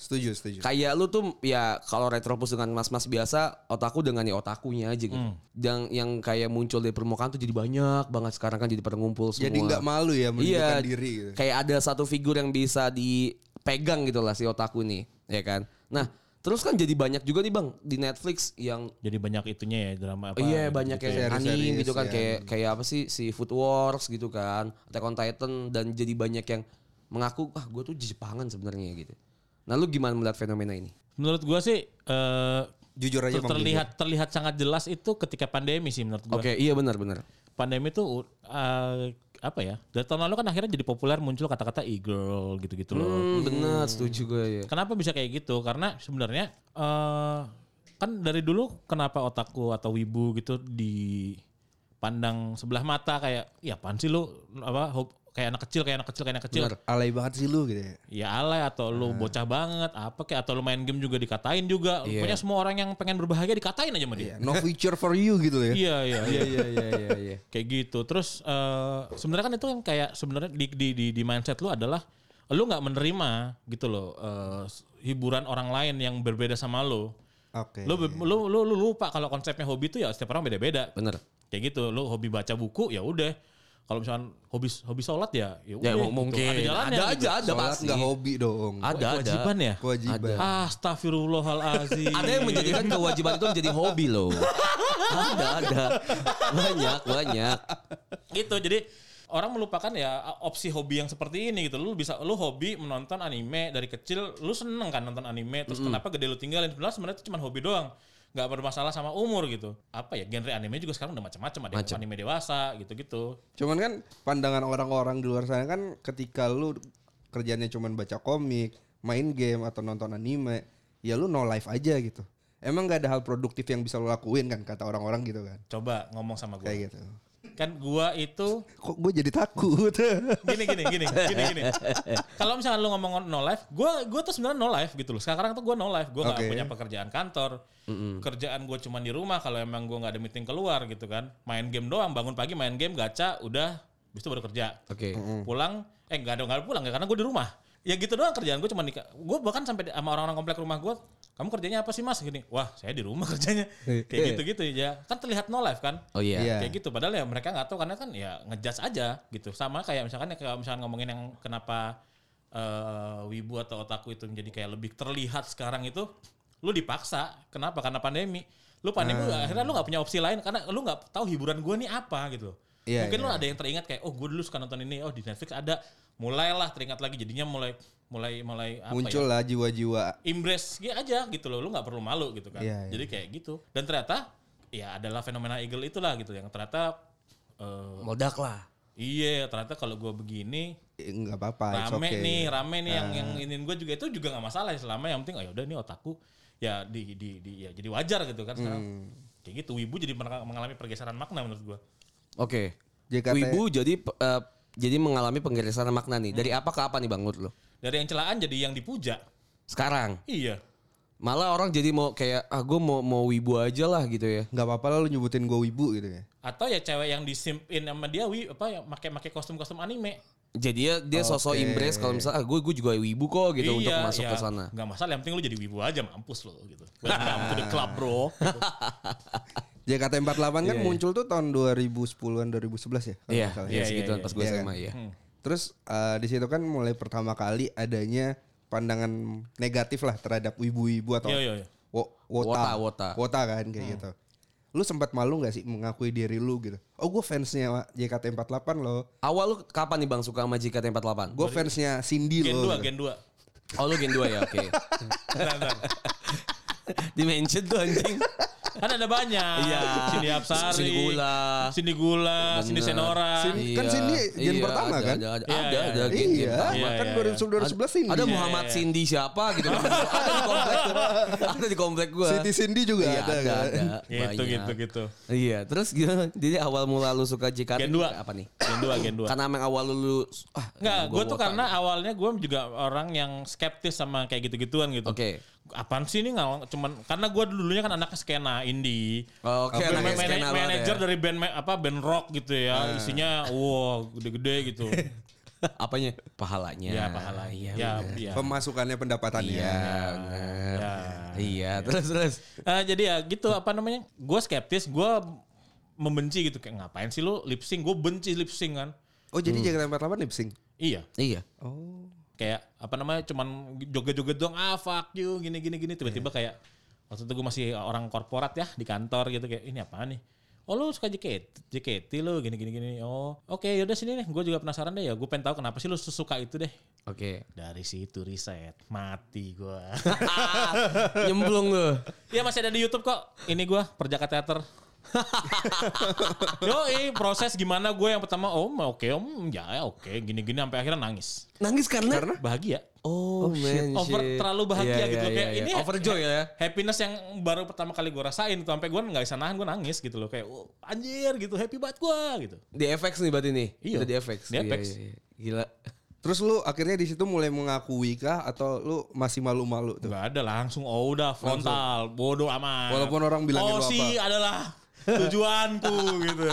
[SPEAKER 1] Setuju, setuju.
[SPEAKER 2] Kayak lu tuh ya kalau retropus dengan mas-mas biasa otakku dengan ya otakunya aja gitu.
[SPEAKER 1] Hmm.
[SPEAKER 2] Dan yang kayak muncul dari permukaan tuh jadi banyak banget sekarang kan jadi pada ngumpul semua.
[SPEAKER 1] Jadi nggak malu ya menunjukkan
[SPEAKER 2] Iya,
[SPEAKER 1] diri gitu.
[SPEAKER 2] kayak ada satu figur yang bisa dipegang gitu lah si otaku nih, ya kan. Nah, terus kan jadi banyak juga nih bang di Netflix yang
[SPEAKER 3] Jadi banyak itunya ya drama apa.
[SPEAKER 2] Iya banyak
[SPEAKER 3] gitu-gitu
[SPEAKER 2] kayak
[SPEAKER 1] Series-series,
[SPEAKER 2] anime gitu kan
[SPEAKER 1] ya.
[SPEAKER 2] kayak kayak apa sih si Food Wars gitu kan Attack on Titan dan jadi banyak yang mengaku ah gue tuh Jepangan sebenarnya gitu. Nah lu gimana melihat fenomena ini?
[SPEAKER 3] Menurut gua sih eh
[SPEAKER 1] Jujur aja, Bang.
[SPEAKER 3] terlihat terlihat sangat jelas itu ketika pandemi sih menurut gua.
[SPEAKER 2] Oke iya benar-benar.
[SPEAKER 3] pandemi tuh uh, apa ya? Dari tahun lalu kan akhirnya jadi populer muncul kata-kata e-girl gitu-gitu loh.
[SPEAKER 2] Hmm, benar setuju gue ya.
[SPEAKER 3] Kenapa bisa kayak gitu? Karena sebenarnya eh kan dari dulu kenapa otakku atau wibu gitu dipandang sebelah mata kayak ya apaan sih lu apa hob- kayak anak kecil kayak anak kecil kayak anak kecil.
[SPEAKER 1] Alay banget sih lu gitu ya.
[SPEAKER 3] Ya alay atau lu
[SPEAKER 2] Hmm.
[SPEAKER 3] bocah banget apa kayak atau lu main game juga dikatain juga.
[SPEAKER 2] Iya.
[SPEAKER 3] Pokoknya semua orang yang pengen berbahagia dikatain aja sama dia.
[SPEAKER 1] No future for you gitu ya.
[SPEAKER 3] Iya iya iya.
[SPEAKER 2] Iya iya iya iya.
[SPEAKER 3] kayak gitu terus eh sebenarnya kan itu kan kayak sebenarnya di, di di di mindset lu adalah lu nggak menerima gitu loh eh, s- hiburan orang lain yang berbeda sama lu
[SPEAKER 1] Oke.
[SPEAKER 3] lu, be- lu lu lu lupa kalau konsepnya hobi itu ya setiap orang beda-beda
[SPEAKER 2] Bener.
[SPEAKER 3] kayak gitu lu hobi baca buku ya udah kalau misalkan hobi hobi sholat ya
[SPEAKER 2] Ya
[SPEAKER 3] ya udah gitu.
[SPEAKER 2] mungkin
[SPEAKER 3] ada jalannya
[SPEAKER 2] ada
[SPEAKER 3] gitu.
[SPEAKER 2] aja ada
[SPEAKER 1] Sholat
[SPEAKER 2] pasti.
[SPEAKER 1] nggak hobi dong.
[SPEAKER 2] Ada ada.
[SPEAKER 3] kewajiban ya
[SPEAKER 1] Kewajiban.
[SPEAKER 3] Astagfirullahalazim.
[SPEAKER 2] Ada yang menjadikan kewajiban itu menjadi hobi loh. ada ada banyak banyak.
[SPEAKER 3] gitu jadi orang melupakan ya opsi hobi yang seperti ini gitu lu bisa lu hobi menonton anime dari kecil lu seneng kan nonton anime terus kenapa gede lu tinggalin sebenarnya sebenarnya itu cuma hobi doang nggak bermasalah sama umur gitu apa ya genre anime juga sekarang udah macam-macam ada yang anime dewasa gitu-gitu
[SPEAKER 1] Cuman kan pandangan orang-orang di luar sana kan ketika lu kerjanya cuman baca komik, main game atau nonton anime, ya lu no life aja gitu. Emang nggak ada hal produktif yang bisa lu lakuin kan kata orang-orang gitu kan.
[SPEAKER 3] coba ngomong sama gua
[SPEAKER 1] Kayak gitu.
[SPEAKER 3] kan gua itu
[SPEAKER 1] Kok gue jadi takut?
[SPEAKER 3] gini gini gini gini gini kalau misalnya lu ngomong no life gue gue tuh sebenarnya no life gitu loh sekarang tuh gue no life gue nggak
[SPEAKER 1] Oke.
[SPEAKER 3] punya pekerjaan kantor kerjaan gue cuma di rumah kalau emang gue nggak ada meeting keluar gitu kan main game doang bangun pagi main game gacha udah habis itu baru kerja
[SPEAKER 2] Oke.
[SPEAKER 3] pulang eh nggak ada nggak ada pulang ya karena gue di rumah ya gitu doang kerjaan gue cuma nikah gue bahkan sampai di- sama orang-orang komplek rumah gue kamu kerjanya apa sih mas gini wah saya di rumah kerjanya kayak gitu gitu ya kan terlihat no life kan
[SPEAKER 2] Oh iya.
[SPEAKER 1] Iya.
[SPEAKER 3] kayak gitu padahal ya mereka nggak tahu karena kan ya ngejudge aja gitu sama kayak misalkan ya kalau misalkan ngomongin yang kenapa eh, wibu atau otaku itu menjadi kayak lebih terlihat sekarang itu lu dipaksa kenapa karena pandemi lu pandemi
[SPEAKER 1] Ah.
[SPEAKER 3] akhirnya lu nggak punya opsi lain karena lu nggak tahu hiburan gua nih apa gitu
[SPEAKER 1] Iya,
[SPEAKER 3] mungkin
[SPEAKER 1] iya.
[SPEAKER 3] lu ada yang teringat kayak oh gue dulu suka nonton ini oh di Netflix ada mulailah teringat lagi jadinya mulai mulai mulai apa ya?
[SPEAKER 1] Muncul lah jiwa-jiwa
[SPEAKER 3] embrace gitu aja gitu loh lu nggak perlu malu gitu kan
[SPEAKER 1] Iya, iya.
[SPEAKER 3] jadi kayak gitu dan ternyata ya adalah fenomena eagle itulah gitu yang ternyata eh
[SPEAKER 2] Modak lah.
[SPEAKER 3] iya ternyata kalau gue begini
[SPEAKER 1] eh, nggak apa-apa. it's
[SPEAKER 3] rame
[SPEAKER 1] okay. Ah.
[SPEAKER 3] nih rame nih yang yang ingin gue juga itu juga nggak masalah selama yang penting ayo udah ini otakku ya di di di ya jadi wajar gitu kan sekarang
[SPEAKER 1] Hmm.
[SPEAKER 3] kayak gitu wibu jadi mer- mengalami pergeseran makna menurut gue
[SPEAKER 2] Oke.
[SPEAKER 1] JKT.
[SPEAKER 2] Wibu jadi eh, jadi mengalami penggeresan makna nih. Dari apa ke apa nih Bang menurut lo?
[SPEAKER 3] dari yang celaan jadi yang dipuja
[SPEAKER 2] Sekarang.
[SPEAKER 3] iya
[SPEAKER 2] Malah orang jadi mau kayak ah gue mau mau wibu aja lah gitu ya.
[SPEAKER 1] Nggak apa-apa lah lu nyebutin gue wibu gitu ya.
[SPEAKER 3] atau ya cewek yang disimpin sama dia wi apa yang pakai-pakai kostum-kostum anime
[SPEAKER 2] Jadi ya dia sosok embrace kalau misalnya ah, gue gue juga wibu kok gitu untuk
[SPEAKER 3] Iya,
[SPEAKER 2] masuk ke sana. Nah.
[SPEAKER 3] Gak masalah, yang penting lu jadi wibu aja, mampus lo gitu. Welcome to the club bro.
[SPEAKER 2] Iya.
[SPEAKER 3] Gitu.
[SPEAKER 1] JKT48 kan muncul tuh tahun 2010-an 2011 ya kalau
[SPEAKER 2] Iya,
[SPEAKER 1] nggak salah.
[SPEAKER 2] iya
[SPEAKER 3] Iya,
[SPEAKER 2] segituan
[SPEAKER 3] iya,
[SPEAKER 2] pas gue
[SPEAKER 1] iya.
[SPEAKER 2] SMA ya.
[SPEAKER 1] Terus eh, di situ kan mulai pertama kali adanya pandangan negatif lah terhadap wibu-wibu atau
[SPEAKER 3] Iya, iya, iya.
[SPEAKER 1] wo-
[SPEAKER 2] Wota,
[SPEAKER 1] wota,
[SPEAKER 2] wota. Hmm.
[SPEAKER 1] kan kayak gitu. Lu sempat malu nggak sih mengakui diri lu gitu? Oh gue fansnya JKT48 loh.
[SPEAKER 2] Awal lu kapan nih Bang suka sama JKT48?
[SPEAKER 1] Gue fansnya Cindy
[SPEAKER 3] Gen
[SPEAKER 1] loh. gitu.
[SPEAKER 3] 2, gen 2.
[SPEAKER 2] Oh lu gen 2 ya, oke.
[SPEAKER 3] Bentar, bentar.
[SPEAKER 2] Dimension tuh anjing.
[SPEAKER 3] Kan ada banyak.
[SPEAKER 2] Iya.
[SPEAKER 3] Sini Apsari.
[SPEAKER 2] Sini Gula.
[SPEAKER 3] Sini Gula, Sini
[SPEAKER 2] Bener.
[SPEAKER 3] Senora.
[SPEAKER 1] Sini- kan Cindy gen pertama,
[SPEAKER 2] ada,
[SPEAKER 1] kan?
[SPEAKER 2] Ada ada
[SPEAKER 3] Ah. Iya,
[SPEAKER 2] ada,
[SPEAKER 3] iya.
[SPEAKER 2] ada gen gen
[SPEAKER 1] Iya,
[SPEAKER 2] pertama.
[SPEAKER 3] Iya,
[SPEAKER 1] kan
[SPEAKER 3] iya,
[SPEAKER 1] 2011 Cindy.
[SPEAKER 2] Ada Muhammad Cindy siapa gitu. ada di komplek tuh. Ada di komplek gua.
[SPEAKER 1] Siti Cindy juga
[SPEAKER 2] Iya,
[SPEAKER 1] ada,
[SPEAKER 2] ada,
[SPEAKER 1] kan?
[SPEAKER 2] ada.
[SPEAKER 3] Gitu,
[SPEAKER 2] Banyak.
[SPEAKER 3] gitu, gitu.
[SPEAKER 2] Iya, terus gimana? Jadi awal mula lu suka JKT
[SPEAKER 3] Gen dua.
[SPEAKER 2] apa nih?
[SPEAKER 3] Gen 2, gen 2.
[SPEAKER 2] Karena emang awal lu, lu ah,
[SPEAKER 3] Enggak,
[SPEAKER 2] gua
[SPEAKER 3] gue tuh
[SPEAKER 2] botak.
[SPEAKER 3] karena awalnya gue juga orang yang skeptis sama kayak gitu-gituan gitu.
[SPEAKER 2] Oke.
[SPEAKER 3] Apaan sih ini nggak cuman karena gue dulunya kan anaknya skena indie.
[SPEAKER 2] Oh, Oke,
[SPEAKER 3] Gue
[SPEAKER 2] anaknya
[SPEAKER 3] mana-
[SPEAKER 2] skena banget
[SPEAKER 3] manajer
[SPEAKER 2] ya. Nah.
[SPEAKER 3] dari band ma- apa band rock gitu ya. Isinya wow, gede-gede gitu.
[SPEAKER 2] Apanya? Pahalanya.
[SPEAKER 3] ya pahala.
[SPEAKER 2] Iya.
[SPEAKER 3] Ya,
[SPEAKER 2] Iya.
[SPEAKER 3] iya.
[SPEAKER 1] Pemasukannya pendapatannya.
[SPEAKER 2] bener.
[SPEAKER 3] Ya.
[SPEAKER 2] Iya, terus terus.
[SPEAKER 3] Eh, jadi ya gitu apa namanya? Gue skeptis, gue membenci gitu kayak ngapain sih lu lip sync? Gue benci lip sync kan.
[SPEAKER 1] Oh
[SPEAKER 2] Hmm.
[SPEAKER 1] jadi JKT48 lip sync.
[SPEAKER 3] Iya.
[SPEAKER 2] Iya.
[SPEAKER 1] Oh.
[SPEAKER 3] kayak apa namanya cuman joget-joget doang ah fuck you gini gini gini tiba-tiba kayak waktu itu gue masih orang korporat ya di kantor gitu kayak ini apa nih oh lu suka JKT JKT lu gini gini gini oh oke yaudah sini nih gue juga penasaran deh ya gue pengen tahu kenapa sih lu suka itu deh
[SPEAKER 2] Oke.
[SPEAKER 3] dari situ riset mati gue
[SPEAKER 2] Nyemplung lu.
[SPEAKER 3] ya masih ada di YouTube kok ini gue perjaka teater Yoi, proses gimana gue yang pertama om oke om ya ya, oke gini gini sampai akhirnya nangis
[SPEAKER 2] Nangis karena,
[SPEAKER 3] bahagia
[SPEAKER 2] oh, man,
[SPEAKER 3] over
[SPEAKER 2] shit.
[SPEAKER 3] terlalu bahagia
[SPEAKER 2] Iya,
[SPEAKER 3] gitu
[SPEAKER 2] iya,
[SPEAKER 3] loh kayak
[SPEAKER 2] iya,
[SPEAKER 3] ini
[SPEAKER 2] iya. overjoy ya.
[SPEAKER 3] happiness yang baru pertama kali gue rasain tuh sampai gue nggak bisa nahan gue nangis gitu loh kayak "Oh, anjir gitu happy banget gue gitu
[SPEAKER 2] Di FX nih berarti nih.
[SPEAKER 3] Iya.
[SPEAKER 2] Udah Di FX.
[SPEAKER 3] Di
[SPEAKER 2] Iya,
[SPEAKER 3] FX.
[SPEAKER 2] iya, iya. Gila.
[SPEAKER 1] Terus lu akhirnya di situ mulai mengakui kah atau lu masih malu-malu tuh?
[SPEAKER 3] nggak ada langsung oh udah frontal bodoh amat
[SPEAKER 1] Walaupun orang bilangin
[SPEAKER 3] oh
[SPEAKER 1] lu apa.
[SPEAKER 3] sih adalah tujuanku gitu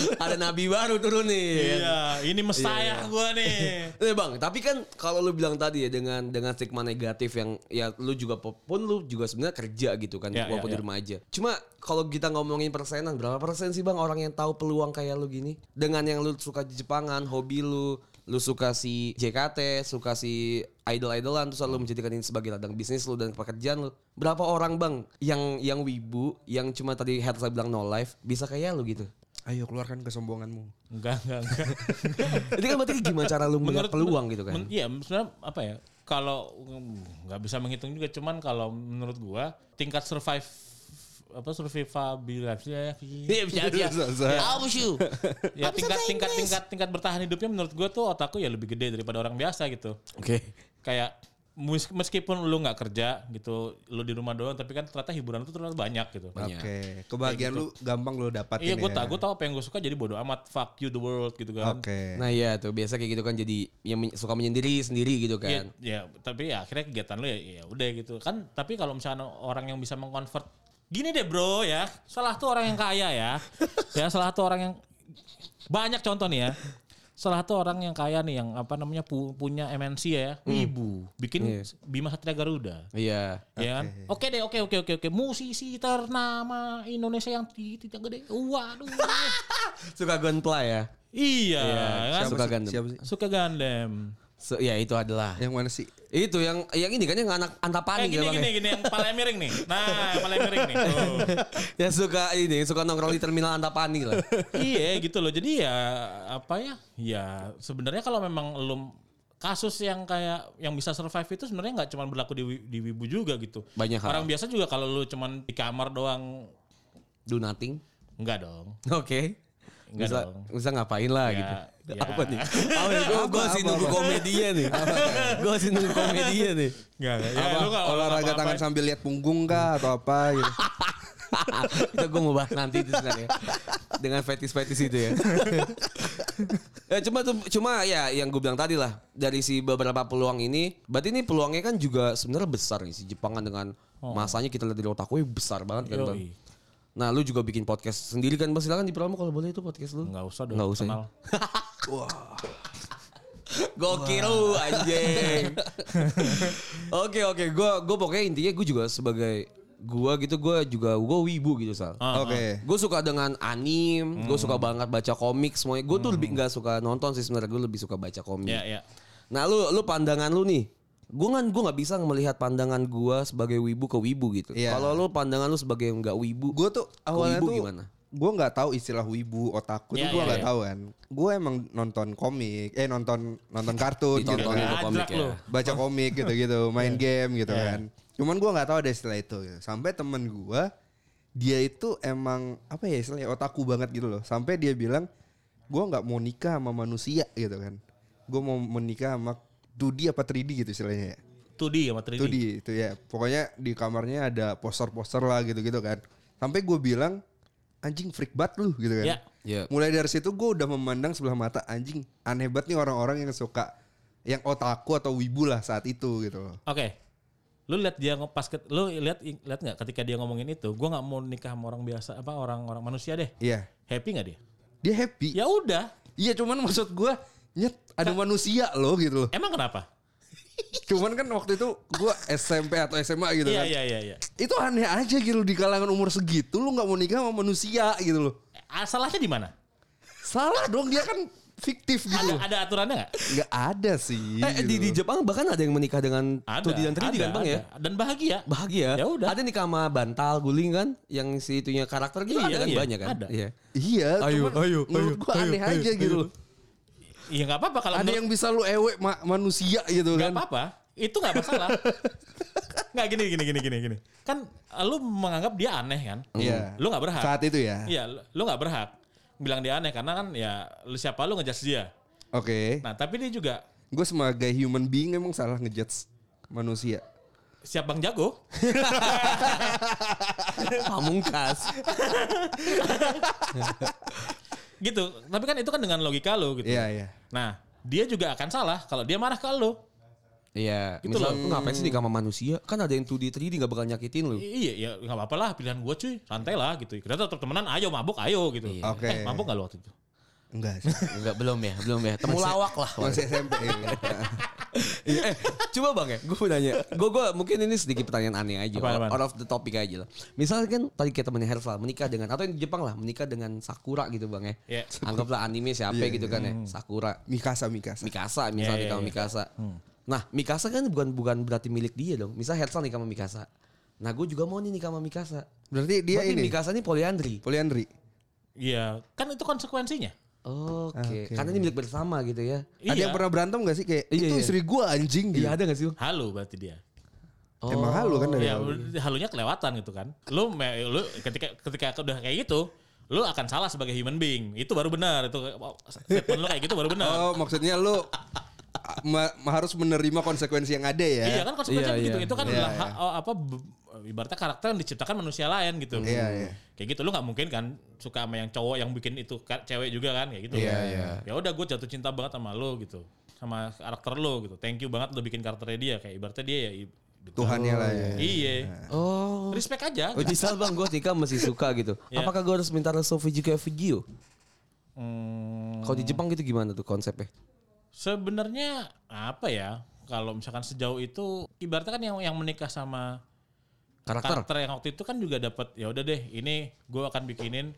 [SPEAKER 2] Ada nabi baru turun nih.
[SPEAKER 3] iya ini mestaya gue nih
[SPEAKER 2] Eh bang, tapi kan kalau lu bilang tadi ya dengan dengan stigma negatif yang ya lu juga po- pun lu juga sebenarnya kerja gitu kan
[SPEAKER 3] Ya,
[SPEAKER 2] walaupun
[SPEAKER 3] ya,
[SPEAKER 2] di
[SPEAKER 3] ya.
[SPEAKER 2] rumah aja. Cuma kalau kita ngomongin persenan berapa persen sih bang orang yang tahu peluang kayak lu gini dengan yang lu suka Jepangan, hobi lu, lu suka si JKT, suka si idol-idolan terus lu menjadikan ini sebagai ladang bisnis lu dan pekerjaan lu. Berapa orang bang yang yang wibu yang cuma tadi head saya bilang no life bisa kayak lu gitu?
[SPEAKER 1] Ayo keluarkan kesombonganmu.
[SPEAKER 3] enggak enggak enggak
[SPEAKER 2] Itu kan berarti gimana cara lu melihat peluang gitu kan?
[SPEAKER 3] Men- iya sebenarnya apa ya kalau mm, nggak bisa menghitung juga cuman kalau menurut gue tingkat survive apa ya. survivabilitasnya
[SPEAKER 2] Iya, bisa, bisa. Hapus you.
[SPEAKER 3] ya tingkat tingkat tingkat tingkat bertahan hidupnya menurut gue tuh otakku ya lebih gede daripada orang biasa gitu
[SPEAKER 2] Oke.
[SPEAKER 3] kayak mes- meskipun lu nggak kerja gitu lu di rumah doang tapi kan ternyata hiburan tuh ternyata banyak gitu
[SPEAKER 1] Oke, kebahagiaan lu gampang lu dapatin
[SPEAKER 3] iya gue
[SPEAKER 1] ya.
[SPEAKER 3] tau gue tau apa yang gue suka jadi bodo amat fuck you the world gitu kan
[SPEAKER 1] Oke.
[SPEAKER 2] Nah iya tuh biasa kayak gitu kan jadi yang men- suka menyendiri sendiri gitu
[SPEAKER 3] Iya,
[SPEAKER 2] kan.
[SPEAKER 3] ya, tapi ya akhirnya kegiatan lu ya, ya udah gitu kan. Tapi kalau misalnya orang yang bisa mengkonvert, gini deh bro ya, salah tuh orang yang kaya ya, ya salah tuh orang yang banyak contoh nih ya. Salah tuh orang yang kaya nih yang apa namanya pu- punya MNC ya, ibu bikin Bima Satria Garuda.
[SPEAKER 2] Iya.
[SPEAKER 3] Ya kan? Oke deh, oke oke oke oke. Musisi ternama Indonesia yang ti- tidak gede. Waduh.
[SPEAKER 2] Suka gunplay ya.
[SPEAKER 3] iya, kan?
[SPEAKER 2] Suka
[SPEAKER 1] sih?
[SPEAKER 2] gandem.
[SPEAKER 1] Siapa sih?
[SPEAKER 3] Suka Gundam.
[SPEAKER 2] So, ya itu adalah.
[SPEAKER 1] Yang mana sih?
[SPEAKER 2] Itu yang yang ini kan yang anak antapani
[SPEAKER 3] Eh
[SPEAKER 2] ya
[SPEAKER 3] gini
[SPEAKER 2] Bang,
[SPEAKER 3] gini
[SPEAKER 2] ya.
[SPEAKER 3] gini yang palanya miring nih. Nah, yang palanya miring nih. Tuh.
[SPEAKER 2] yang suka ini yang suka nongkrong di terminal antapani lah.
[SPEAKER 3] iya gitu loh jadi ya apa ya ya sebenarnya kalau memang lo kasus yang kayak yang bisa survive itu sebenarnya nggak cuma berlaku di, wi- di wibu juga gitu
[SPEAKER 2] Banyak hal.
[SPEAKER 3] orang biasa juga kalau lu cuman di kamar doang
[SPEAKER 2] Do nothing.
[SPEAKER 3] nggak dong
[SPEAKER 2] Oke.
[SPEAKER 3] Enggak
[SPEAKER 2] bisa,
[SPEAKER 3] dong.
[SPEAKER 2] bisa ngapain lah
[SPEAKER 3] Ya,
[SPEAKER 2] gitu.
[SPEAKER 3] ya.
[SPEAKER 2] Apa nih? Apa nih? Gue gua sih nunggu komedinya nih. Gue sih nunggu komedinya nih.
[SPEAKER 3] Enggak, enggak. Ya,
[SPEAKER 1] Apa,
[SPEAKER 3] lu kalau
[SPEAKER 1] olahraga
[SPEAKER 3] ngapa-ngapain-
[SPEAKER 1] tangan sambil lihat punggung kah atau apa gitu.
[SPEAKER 2] itu gue mau bahas nanti itu sebenarnya dengan fetis-fetis itu ya. Eh, cuma tuh cuma ya yang gue bilang tadi lah dari si beberapa peluang ini, berarti ini peluangnya kan juga sebenarnya besar nih si Jepangan dengan masanya kita lihat dari otakku besar banget kan. Bang.
[SPEAKER 3] Oh. Yoi.
[SPEAKER 2] Nah lu juga bikin podcast sendiri kan bang silakan dipromo kalau boleh itu podcast lu.
[SPEAKER 3] Enggak usah dong.
[SPEAKER 2] Nggak usah. ya?
[SPEAKER 3] Kenal.
[SPEAKER 2] Gokil lu anjing. Oke oke, gua gua pokoknya intinya gue juga sebagai gua gitu gua juga gua wibu gitu
[SPEAKER 3] Ah.
[SPEAKER 2] sal.
[SPEAKER 1] Oke.
[SPEAKER 2] Gue suka dengan anime, gue suka banget baca komik semuanya. Gue tuh lebih nggak suka nonton sih sebenarnya, gue lebih suka baca komik.
[SPEAKER 3] Ya, ya.
[SPEAKER 2] Nah, lu lu pandangan lu nih. Gue kan gue nggak bisa melihat pandangan gue sebagai wibu ke wibu gitu.
[SPEAKER 1] Iya.
[SPEAKER 2] Kalau lu pandangan lu sebagai yang nggak wibu,
[SPEAKER 1] Gue tuh awalnya
[SPEAKER 2] wibu
[SPEAKER 1] tuh
[SPEAKER 2] gimana?
[SPEAKER 1] gue nggak tahu istilah wibu otaku tuh
[SPEAKER 3] Iya,
[SPEAKER 1] gue
[SPEAKER 3] iya,
[SPEAKER 1] nggak
[SPEAKER 3] iya.
[SPEAKER 1] tahu kan. Gue emang nonton komik, eh nonton nonton kartun, gitu. nonton
[SPEAKER 2] Dicontohin ke
[SPEAKER 3] Adrak
[SPEAKER 2] komik ya.
[SPEAKER 3] lu.
[SPEAKER 1] baca komik gitu-gitu, main game gitu kan. Cuman gua nggak tahu ada istilah itu. Gitu. Sampai temen gua dia itu emang apa ya istilahnya otaku banget gitu loh. Sampai dia bilang gua nggak mau nikah sama manusia gitu kan. Gua mau menikah sama 2D apa 3D gitu istilahnya. ya.
[SPEAKER 3] 2D sama 3D.
[SPEAKER 1] 2D itu ya. Pokoknya di kamarnya ada poster-poster lah gitu-gitu kan. Sampai gua bilang anjing freak banget lu gitu kan.
[SPEAKER 3] Ya.
[SPEAKER 2] Ya.
[SPEAKER 1] Mulai dari situ gue udah memandang sebelah mata anjing aneh banget nih orang-orang yang suka yang otaku atau wibu lah saat itu gitu loh.
[SPEAKER 3] Oke. Lu lihat dia nge- pas ket- lu lihat lihat nggak ketika dia ngomongin itu, gua nggak mau nikah sama orang biasa apa orang-orang manusia deh.
[SPEAKER 1] Iya.
[SPEAKER 3] Happy nggak dia?
[SPEAKER 1] Dia happy.
[SPEAKER 3] Ya udah.
[SPEAKER 1] Iya cuman maksud gue nyet ada manusia loh gitu loh.
[SPEAKER 3] Emang kenapa?
[SPEAKER 1] Cuman kan waktu itu gue SMP atau SMA gitu
[SPEAKER 3] Iya
[SPEAKER 1] kan.
[SPEAKER 3] iya iya iya.
[SPEAKER 1] Itu aneh aja gitu di kalangan umur segitu lu nggak mau nikah sama manusia gitu loh.
[SPEAKER 3] Ah, Salahnya di mana?
[SPEAKER 1] Salah dong dia kan fiktif
[SPEAKER 3] Ada,
[SPEAKER 1] gitu. loh.
[SPEAKER 3] ada aturannya nggak?
[SPEAKER 1] Nggak ada sih.
[SPEAKER 2] Eh, di,
[SPEAKER 1] gitu
[SPEAKER 2] di
[SPEAKER 1] loh.
[SPEAKER 2] Jepang bahkan ada yang menikah dengan
[SPEAKER 3] Ada.
[SPEAKER 2] 2D dan 3D
[SPEAKER 3] ada,
[SPEAKER 2] kan bang ya?
[SPEAKER 3] ada. Dan bahagia.
[SPEAKER 2] bahagia.
[SPEAKER 3] Ya udah.
[SPEAKER 2] Ada nikah sama bantal guling kan, yang si itunya karakter gitu
[SPEAKER 3] Iya,
[SPEAKER 2] ada kan
[SPEAKER 3] iya,
[SPEAKER 2] banyak kan.
[SPEAKER 3] ada.
[SPEAKER 2] Iya.
[SPEAKER 1] Iya,
[SPEAKER 2] Ayo,
[SPEAKER 1] cuman
[SPEAKER 2] ayo,
[SPEAKER 1] menurut
[SPEAKER 2] ayo,
[SPEAKER 1] gue
[SPEAKER 2] ayo,
[SPEAKER 1] aneh
[SPEAKER 2] ayo,
[SPEAKER 1] aja gitu
[SPEAKER 2] ayo.
[SPEAKER 1] loh.
[SPEAKER 3] Iya nggak apa-apa kalau
[SPEAKER 1] Ada
[SPEAKER 3] menurut-
[SPEAKER 1] yang bisa lu ewe ma- manusia gitu kan.
[SPEAKER 3] nggak apa-apa. Itu nggak masalah. Nggak gini gini gini gini gini. Kan eh, lu menganggap dia aneh kan?
[SPEAKER 1] Iya.
[SPEAKER 3] Lu nggak berhak.
[SPEAKER 1] Saat itu ya.
[SPEAKER 3] Iya, lu- lu nggak berhak bilang dia aneh karena kan ya lu siapa lu ngejudge dia.
[SPEAKER 1] Oke.
[SPEAKER 3] Nah, tapi dia juga
[SPEAKER 1] Gue sebagai human being emang salah ngejudge manusia.
[SPEAKER 3] siap Bang Jago.
[SPEAKER 2] Pamungkas.
[SPEAKER 3] gitu. Tapi kan itu kan dengan logika lu gitu.
[SPEAKER 1] Iya, iya.
[SPEAKER 3] Nah, dia juga akan salah kalau dia marah ke lu.
[SPEAKER 2] Iya,
[SPEAKER 3] Gitu
[SPEAKER 2] misal lu
[SPEAKER 3] loh.
[SPEAKER 2] ngapain sih nikah sama manusia? Kan ada yang 2D 3D gak bakal nyakitin lu.
[SPEAKER 3] I- Iya, ya nggak apa-apa lah pilihan gue cuy, santai lah gitu. Kita tetap temenan, ayo mabuk, ayo gitu.
[SPEAKER 2] Iya.
[SPEAKER 1] Oke.
[SPEAKER 3] Eh, mabuk nggak lu waktu itu?
[SPEAKER 1] Enggak sih.
[SPEAKER 2] Enggak belum ya, belum ya. Temulawak lah.
[SPEAKER 1] Masih SMP. ya.
[SPEAKER 2] Iya, eh, coba bang ya, gue mau nanya. Gue gue mungkin ini sedikit pertanyaan aneh aja,
[SPEAKER 3] Apaan, apaan?
[SPEAKER 2] out of the topic aja lah. Misal kan tadi kayak temennya Herval menikah dengan atau yang di Jepang lah menikah dengan Sakura gitu bang ya.
[SPEAKER 3] Iya.
[SPEAKER 2] Anggaplah anime siapa
[SPEAKER 1] Iya,
[SPEAKER 2] gitu kan ya, Sakura.
[SPEAKER 1] Mikasa, Mikasa.
[SPEAKER 2] Mikasa misalnya
[SPEAKER 3] Iya, iya,
[SPEAKER 2] nikah sama
[SPEAKER 3] iya.
[SPEAKER 2] Mikasa. Nah Mikasa kan bukan bukan berarti milik dia dong. Misal Hersal nikah sama Mikasa. Nah gue juga mau nih nikah sama Mikasa.
[SPEAKER 1] Berarti dia
[SPEAKER 2] berarti
[SPEAKER 1] ini
[SPEAKER 2] Mikasa ini poliandri.
[SPEAKER 1] poliandri.
[SPEAKER 3] Iya, kan itu konsekuensinya. Iya.
[SPEAKER 2] Oke.
[SPEAKER 1] Oke.
[SPEAKER 2] Karena ini milik bersama gitu ya.
[SPEAKER 1] Ada yang pernah berantem gak sih kayak
[SPEAKER 2] Iya,
[SPEAKER 1] itu
[SPEAKER 2] iya.
[SPEAKER 1] istri gua anjing gitu.
[SPEAKER 2] Iya ada gak sih? Bang?
[SPEAKER 3] Halo berarti dia.
[SPEAKER 2] Oh.
[SPEAKER 1] Emang halu kan dari
[SPEAKER 3] Ya,
[SPEAKER 1] awal.
[SPEAKER 3] halunya kelewatan gitu kan. Lu me- lu ketika ketika udah kayak gitu, lu akan salah sebagai human being. Itu baru benar. Itu oh, statement lu kayak gitu baru benar.
[SPEAKER 1] Oh, maksudnya lu a- ma- ma- harus menerima konsekuensi yang ada ya.
[SPEAKER 3] Iya kan konsekuensinya
[SPEAKER 2] Iya,
[SPEAKER 3] begitu.
[SPEAKER 2] iya.
[SPEAKER 3] Itu kan
[SPEAKER 1] Iya,
[SPEAKER 3] adalah
[SPEAKER 1] iya.
[SPEAKER 3] hak- oh, apa be- ibaratnya karakter yang diciptakan manusia lain gitu.
[SPEAKER 1] Iya, iya.
[SPEAKER 3] Kayak gitu lu nggak mungkin kan suka sama yang cowok yang bikin itu ka- cewek juga kan kayak gitu.
[SPEAKER 1] Iya, iya.
[SPEAKER 3] Ya udah gue jatuh cinta banget sama lu gitu. Sama karakter lu gitu. Thank you banget udah bikin karakternya dia kayak ibaratnya dia ya i-
[SPEAKER 1] Tuhannya lah ya.
[SPEAKER 3] Iya.
[SPEAKER 2] Oh.
[SPEAKER 3] Respect aja.
[SPEAKER 2] Oh, misal bang gue nikah masih suka gitu.
[SPEAKER 3] Iya.
[SPEAKER 2] Apakah gue harus minta restu video video?
[SPEAKER 3] Hmm,
[SPEAKER 2] Kalau di Jepang gitu gimana tuh konsepnya?
[SPEAKER 3] Sebenarnya apa ya? Kalau misalkan sejauh itu ibaratnya kan yang yang menikah sama
[SPEAKER 2] Karakter.
[SPEAKER 3] karakter yang waktu itu kan juga dapat ya udah deh ini gue akan bikinin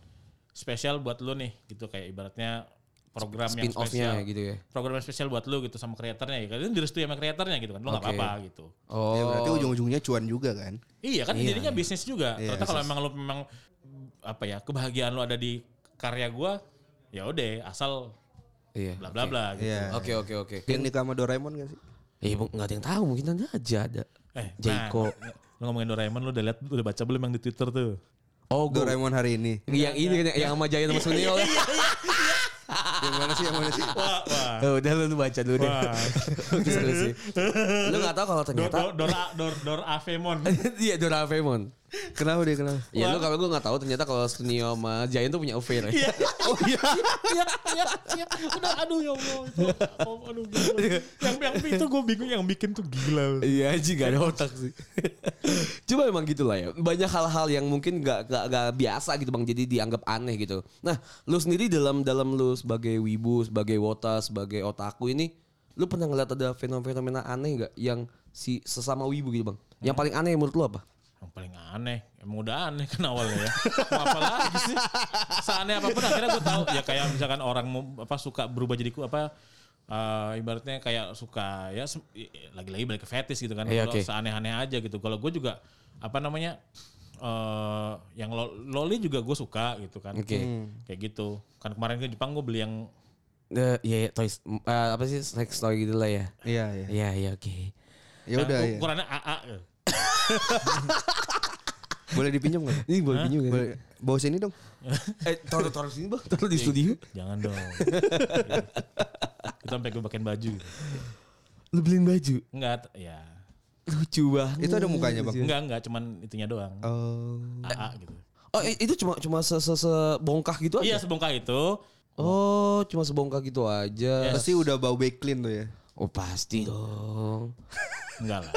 [SPEAKER 3] spesial buat lu nih gitu kayak ibaratnya program yang
[SPEAKER 2] Spin
[SPEAKER 3] spesial
[SPEAKER 2] off-nya gitu ya.
[SPEAKER 3] program yang spesial buat lu gitu sama kreatornya ya kan direstui sama kreatornya gitu kan lu nggak
[SPEAKER 2] Oke.
[SPEAKER 3] apa-apa gitu
[SPEAKER 2] Oh.
[SPEAKER 1] Ya, berarti ujung-ujungnya cuan juga kan.
[SPEAKER 3] iya kan jadinya bisnis juga ternyata kalau emang lu memang apa ya kebahagiaan lu ada di karya gue ya udah asal
[SPEAKER 2] Iya.
[SPEAKER 3] bla bla bla gitu
[SPEAKER 1] Iya.
[SPEAKER 2] Oke oke oke.
[SPEAKER 1] Yang nikah sama Doraemon gak sih?
[SPEAKER 2] Eh bu- nggak ada yang tahu mungkin nanti aja ada.
[SPEAKER 3] eh nah,
[SPEAKER 2] Jaiko.
[SPEAKER 3] lu ngomongin Doraemon lu udah lihat udah baca belum yang di Twitter tuh
[SPEAKER 2] Oh, gue.
[SPEAKER 1] Doraemon hari ini.
[SPEAKER 2] Yang ini kan yang- yang sama Jaya sama Sunil.
[SPEAKER 1] Yang mana sih? Yang mana sih?
[SPEAKER 3] Wah, wah.
[SPEAKER 2] Oh, udah lu baca dulu deh.
[SPEAKER 3] Wah.
[SPEAKER 2] Itu seru sih. Lu gak tahu kalau
[SPEAKER 3] Dor,
[SPEAKER 2] ternyata
[SPEAKER 3] dor, dor, dor, dor Avemon.
[SPEAKER 2] Iya Doraemon.
[SPEAKER 1] Kenapa dia kenapa?
[SPEAKER 2] Ya lu kalau gue gak tahu ternyata kalau Sunil sama Jaya tuh punya affair. ya.
[SPEAKER 3] Oh iya. Iya, iya, iya. Udah aduh ya Allah. Itu, oh, aduh gila. Yang yang itu gue bingung yang bikin tuh gila.
[SPEAKER 2] Iya anjing gak ada otak sih. Cuma emang gitulah ya. Banyak hal-hal yang mungkin gak, gak, gak biasa gitu bang. Jadi dianggap aneh gitu. Nah lu sendiri dalam dalam lu sebagai wibu, sebagai wota, sebagai otaku ini. Lu pernah ngeliat ada fenomena-fenomena aneh gak? Yang si sesama wibu gitu bang. Yang paling aneh menurut lu apa?
[SPEAKER 3] Yang paling aneh, emang udah aneh kan awalnya ya. Mau apa lagi sih? Seaneh apapun akhirnya gue tahu ya kayak misalkan orang mau apa suka berubah jadi ku- apa eh, ibaratnya kayak suka ya sem- i- i- lagi-lagi balik ke fetish gitu kan.
[SPEAKER 2] Iya, oke.
[SPEAKER 3] Kalau seaneh-aneh aja gitu. Kalau gue juga apa namanya eh yang lo- loli juga gue suka gitu kan.
[SPEAKER 2] Oke.
[SPEAKER 3] Kayak gitu. Kan kemarin ke Jepang gue beli yang
[SPEAKER 2] Eh, Iya iya, toys. Eh, apa sih sex toy gitu lah ya.
[SPEAKER 1] Iya iya.
[SPEAKER 2] Iya iya oke.
[SPEAKER 1] Ya udah
[SPEAKER 3] Nah,
[SPEAKER 2] iya.
[SPEAKER 1] ya.
[SPEAKER 3] Ukurannya AA. ya.
[SPEAKER 1] Boleh dipinjam nggak?
[SPEAKER 2] Ini boleh pinjam gak?
[SPEAKER 1] Boleh. Bawa sini dong.
[SPEAKER 2] Eh taruh taruh sini bang. Taruh di studio.
[SPEAKER 3] Jangan dong. Itu sampai gue pakein baju. gitu.
[SPEAKER 2] Lu beliin baju.
[SPEAKER 3] Enggak, t- ya.
[SPEAKER 2] Lucu banget.
[SPEAKER 1] Itu ada mukanya
[SPEAKER 2] Iya.
[SPEAKER 1] bang.
[SPEAKER 3] Enggak, enggak, cuman itunya doang.
[SPEAKER 1] Oh.
[SPEAKER 3] AA gitu.
[SPEAKER 2] Oh i- itu cuma cuma se, se, sebongkah gitu aja?
[SPEAKER 3] Iya, sebongkah itu.
[SPEAKER 2] Oh, cuma sebongkah gitu aja.
[SPEAKER 3] Iya.
[SPEAKER 1] Pasti udah bau backclean tuh ya.
[SPEAKER 2] Oh, pasti dong.
[SPEAKER 3] Enggak lah.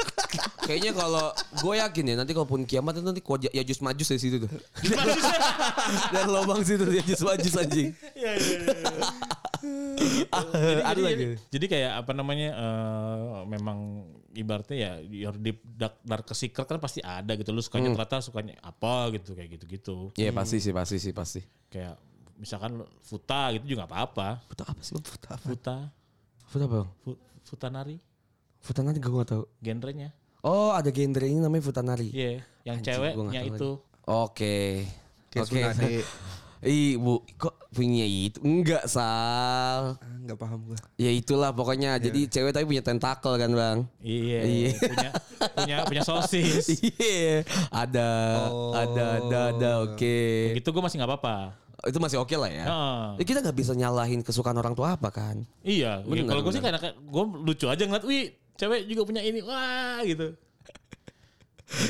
[SPEAKER 2] Kayaknya kalau gue yakin ya nanti kalaupun kiamat itu nanti kuat ya jus majus dari situ tuh. Dan lubang situ ya jus majus anjing.
[SPEAKER 3] Iya, iya, iya.
[SPEAKER 2] Ada
[SPEAKER 3] Jadi,
[SPEAKER 2] lagi.
[SPEAKER 3] jadi kayak apa namanya eh, memang ibaratnya ya your deep dark, dark secret kan pasti ada gitu lu sukanya
[SPEAKER 2] Hmm.
[SPEAKER 3] ternyata sukanya apa gitu kayak gitu-gitu
[SPEAKER 2] Iya pasti sih, pasti sih, pasti.
[SPEAKER 3] kayak misalkan lu futa gitu juga nggak apa-apa
[SPEAKER 2] Foto apa sih bang? Foto apa?
[SPEAKER 3] futa
[SPEAKER 2] Foto apa bang?
[SPEAKER 3] fu- futanari
[SPEAKER 2] Foto nanti gue gak tau.
[SPEAKER 3] genrenya
[SPEAKER 2] Oh ada genre ini namanya futanari.
[SPEAKER 3] iya
[SPEAKER 2] Anjing, gua
[SPEAKER 3] yang
[SPEAKER 2] nggak
[SPEAKER 3] ceweknya
[SPEAKER 2] tahu
[SPEAKER 3] itu
[SPEAKER 2] Oke.
[SPEAKER 1] Kayak Tsunade.
[SPEAKER 2] Ih, Bu, kok punya itu? Enggak, Sal.
[SPEAKER 1] Ah, Nggak paham gua.
[SPEAKER 2] Ya itulah pokoknya. Jadi cewek tapi punya tentakel kan bang.
[SPEAKER 3] Iya,
[SPEAKER 2] Iya.
[SPEAKER 3] punya punya punya sosis.
[SPEAKER 2] Iya. ada, ada, ada, ada. Oke.
[SPEAKER 3] Gitu gue masih nggak apa-apa.
[SPEAKER 2] Itu masih oke lah ya.
[SPEAKER 3] Heeh.
[SPEAKER 2] Ya, Kita nggak bisa nyalahin kesukaan orang tua apa kan?
[SPEAKER 3] Iya, ya
[SPEAKER 2] Bener,
[SPEAKER 3] kalau gue sih
[SPEAKER 2] bener.
[SPEAKER 3] karena gue lucu aja ngeliat, wih cewek juga punya ini, wah gitu.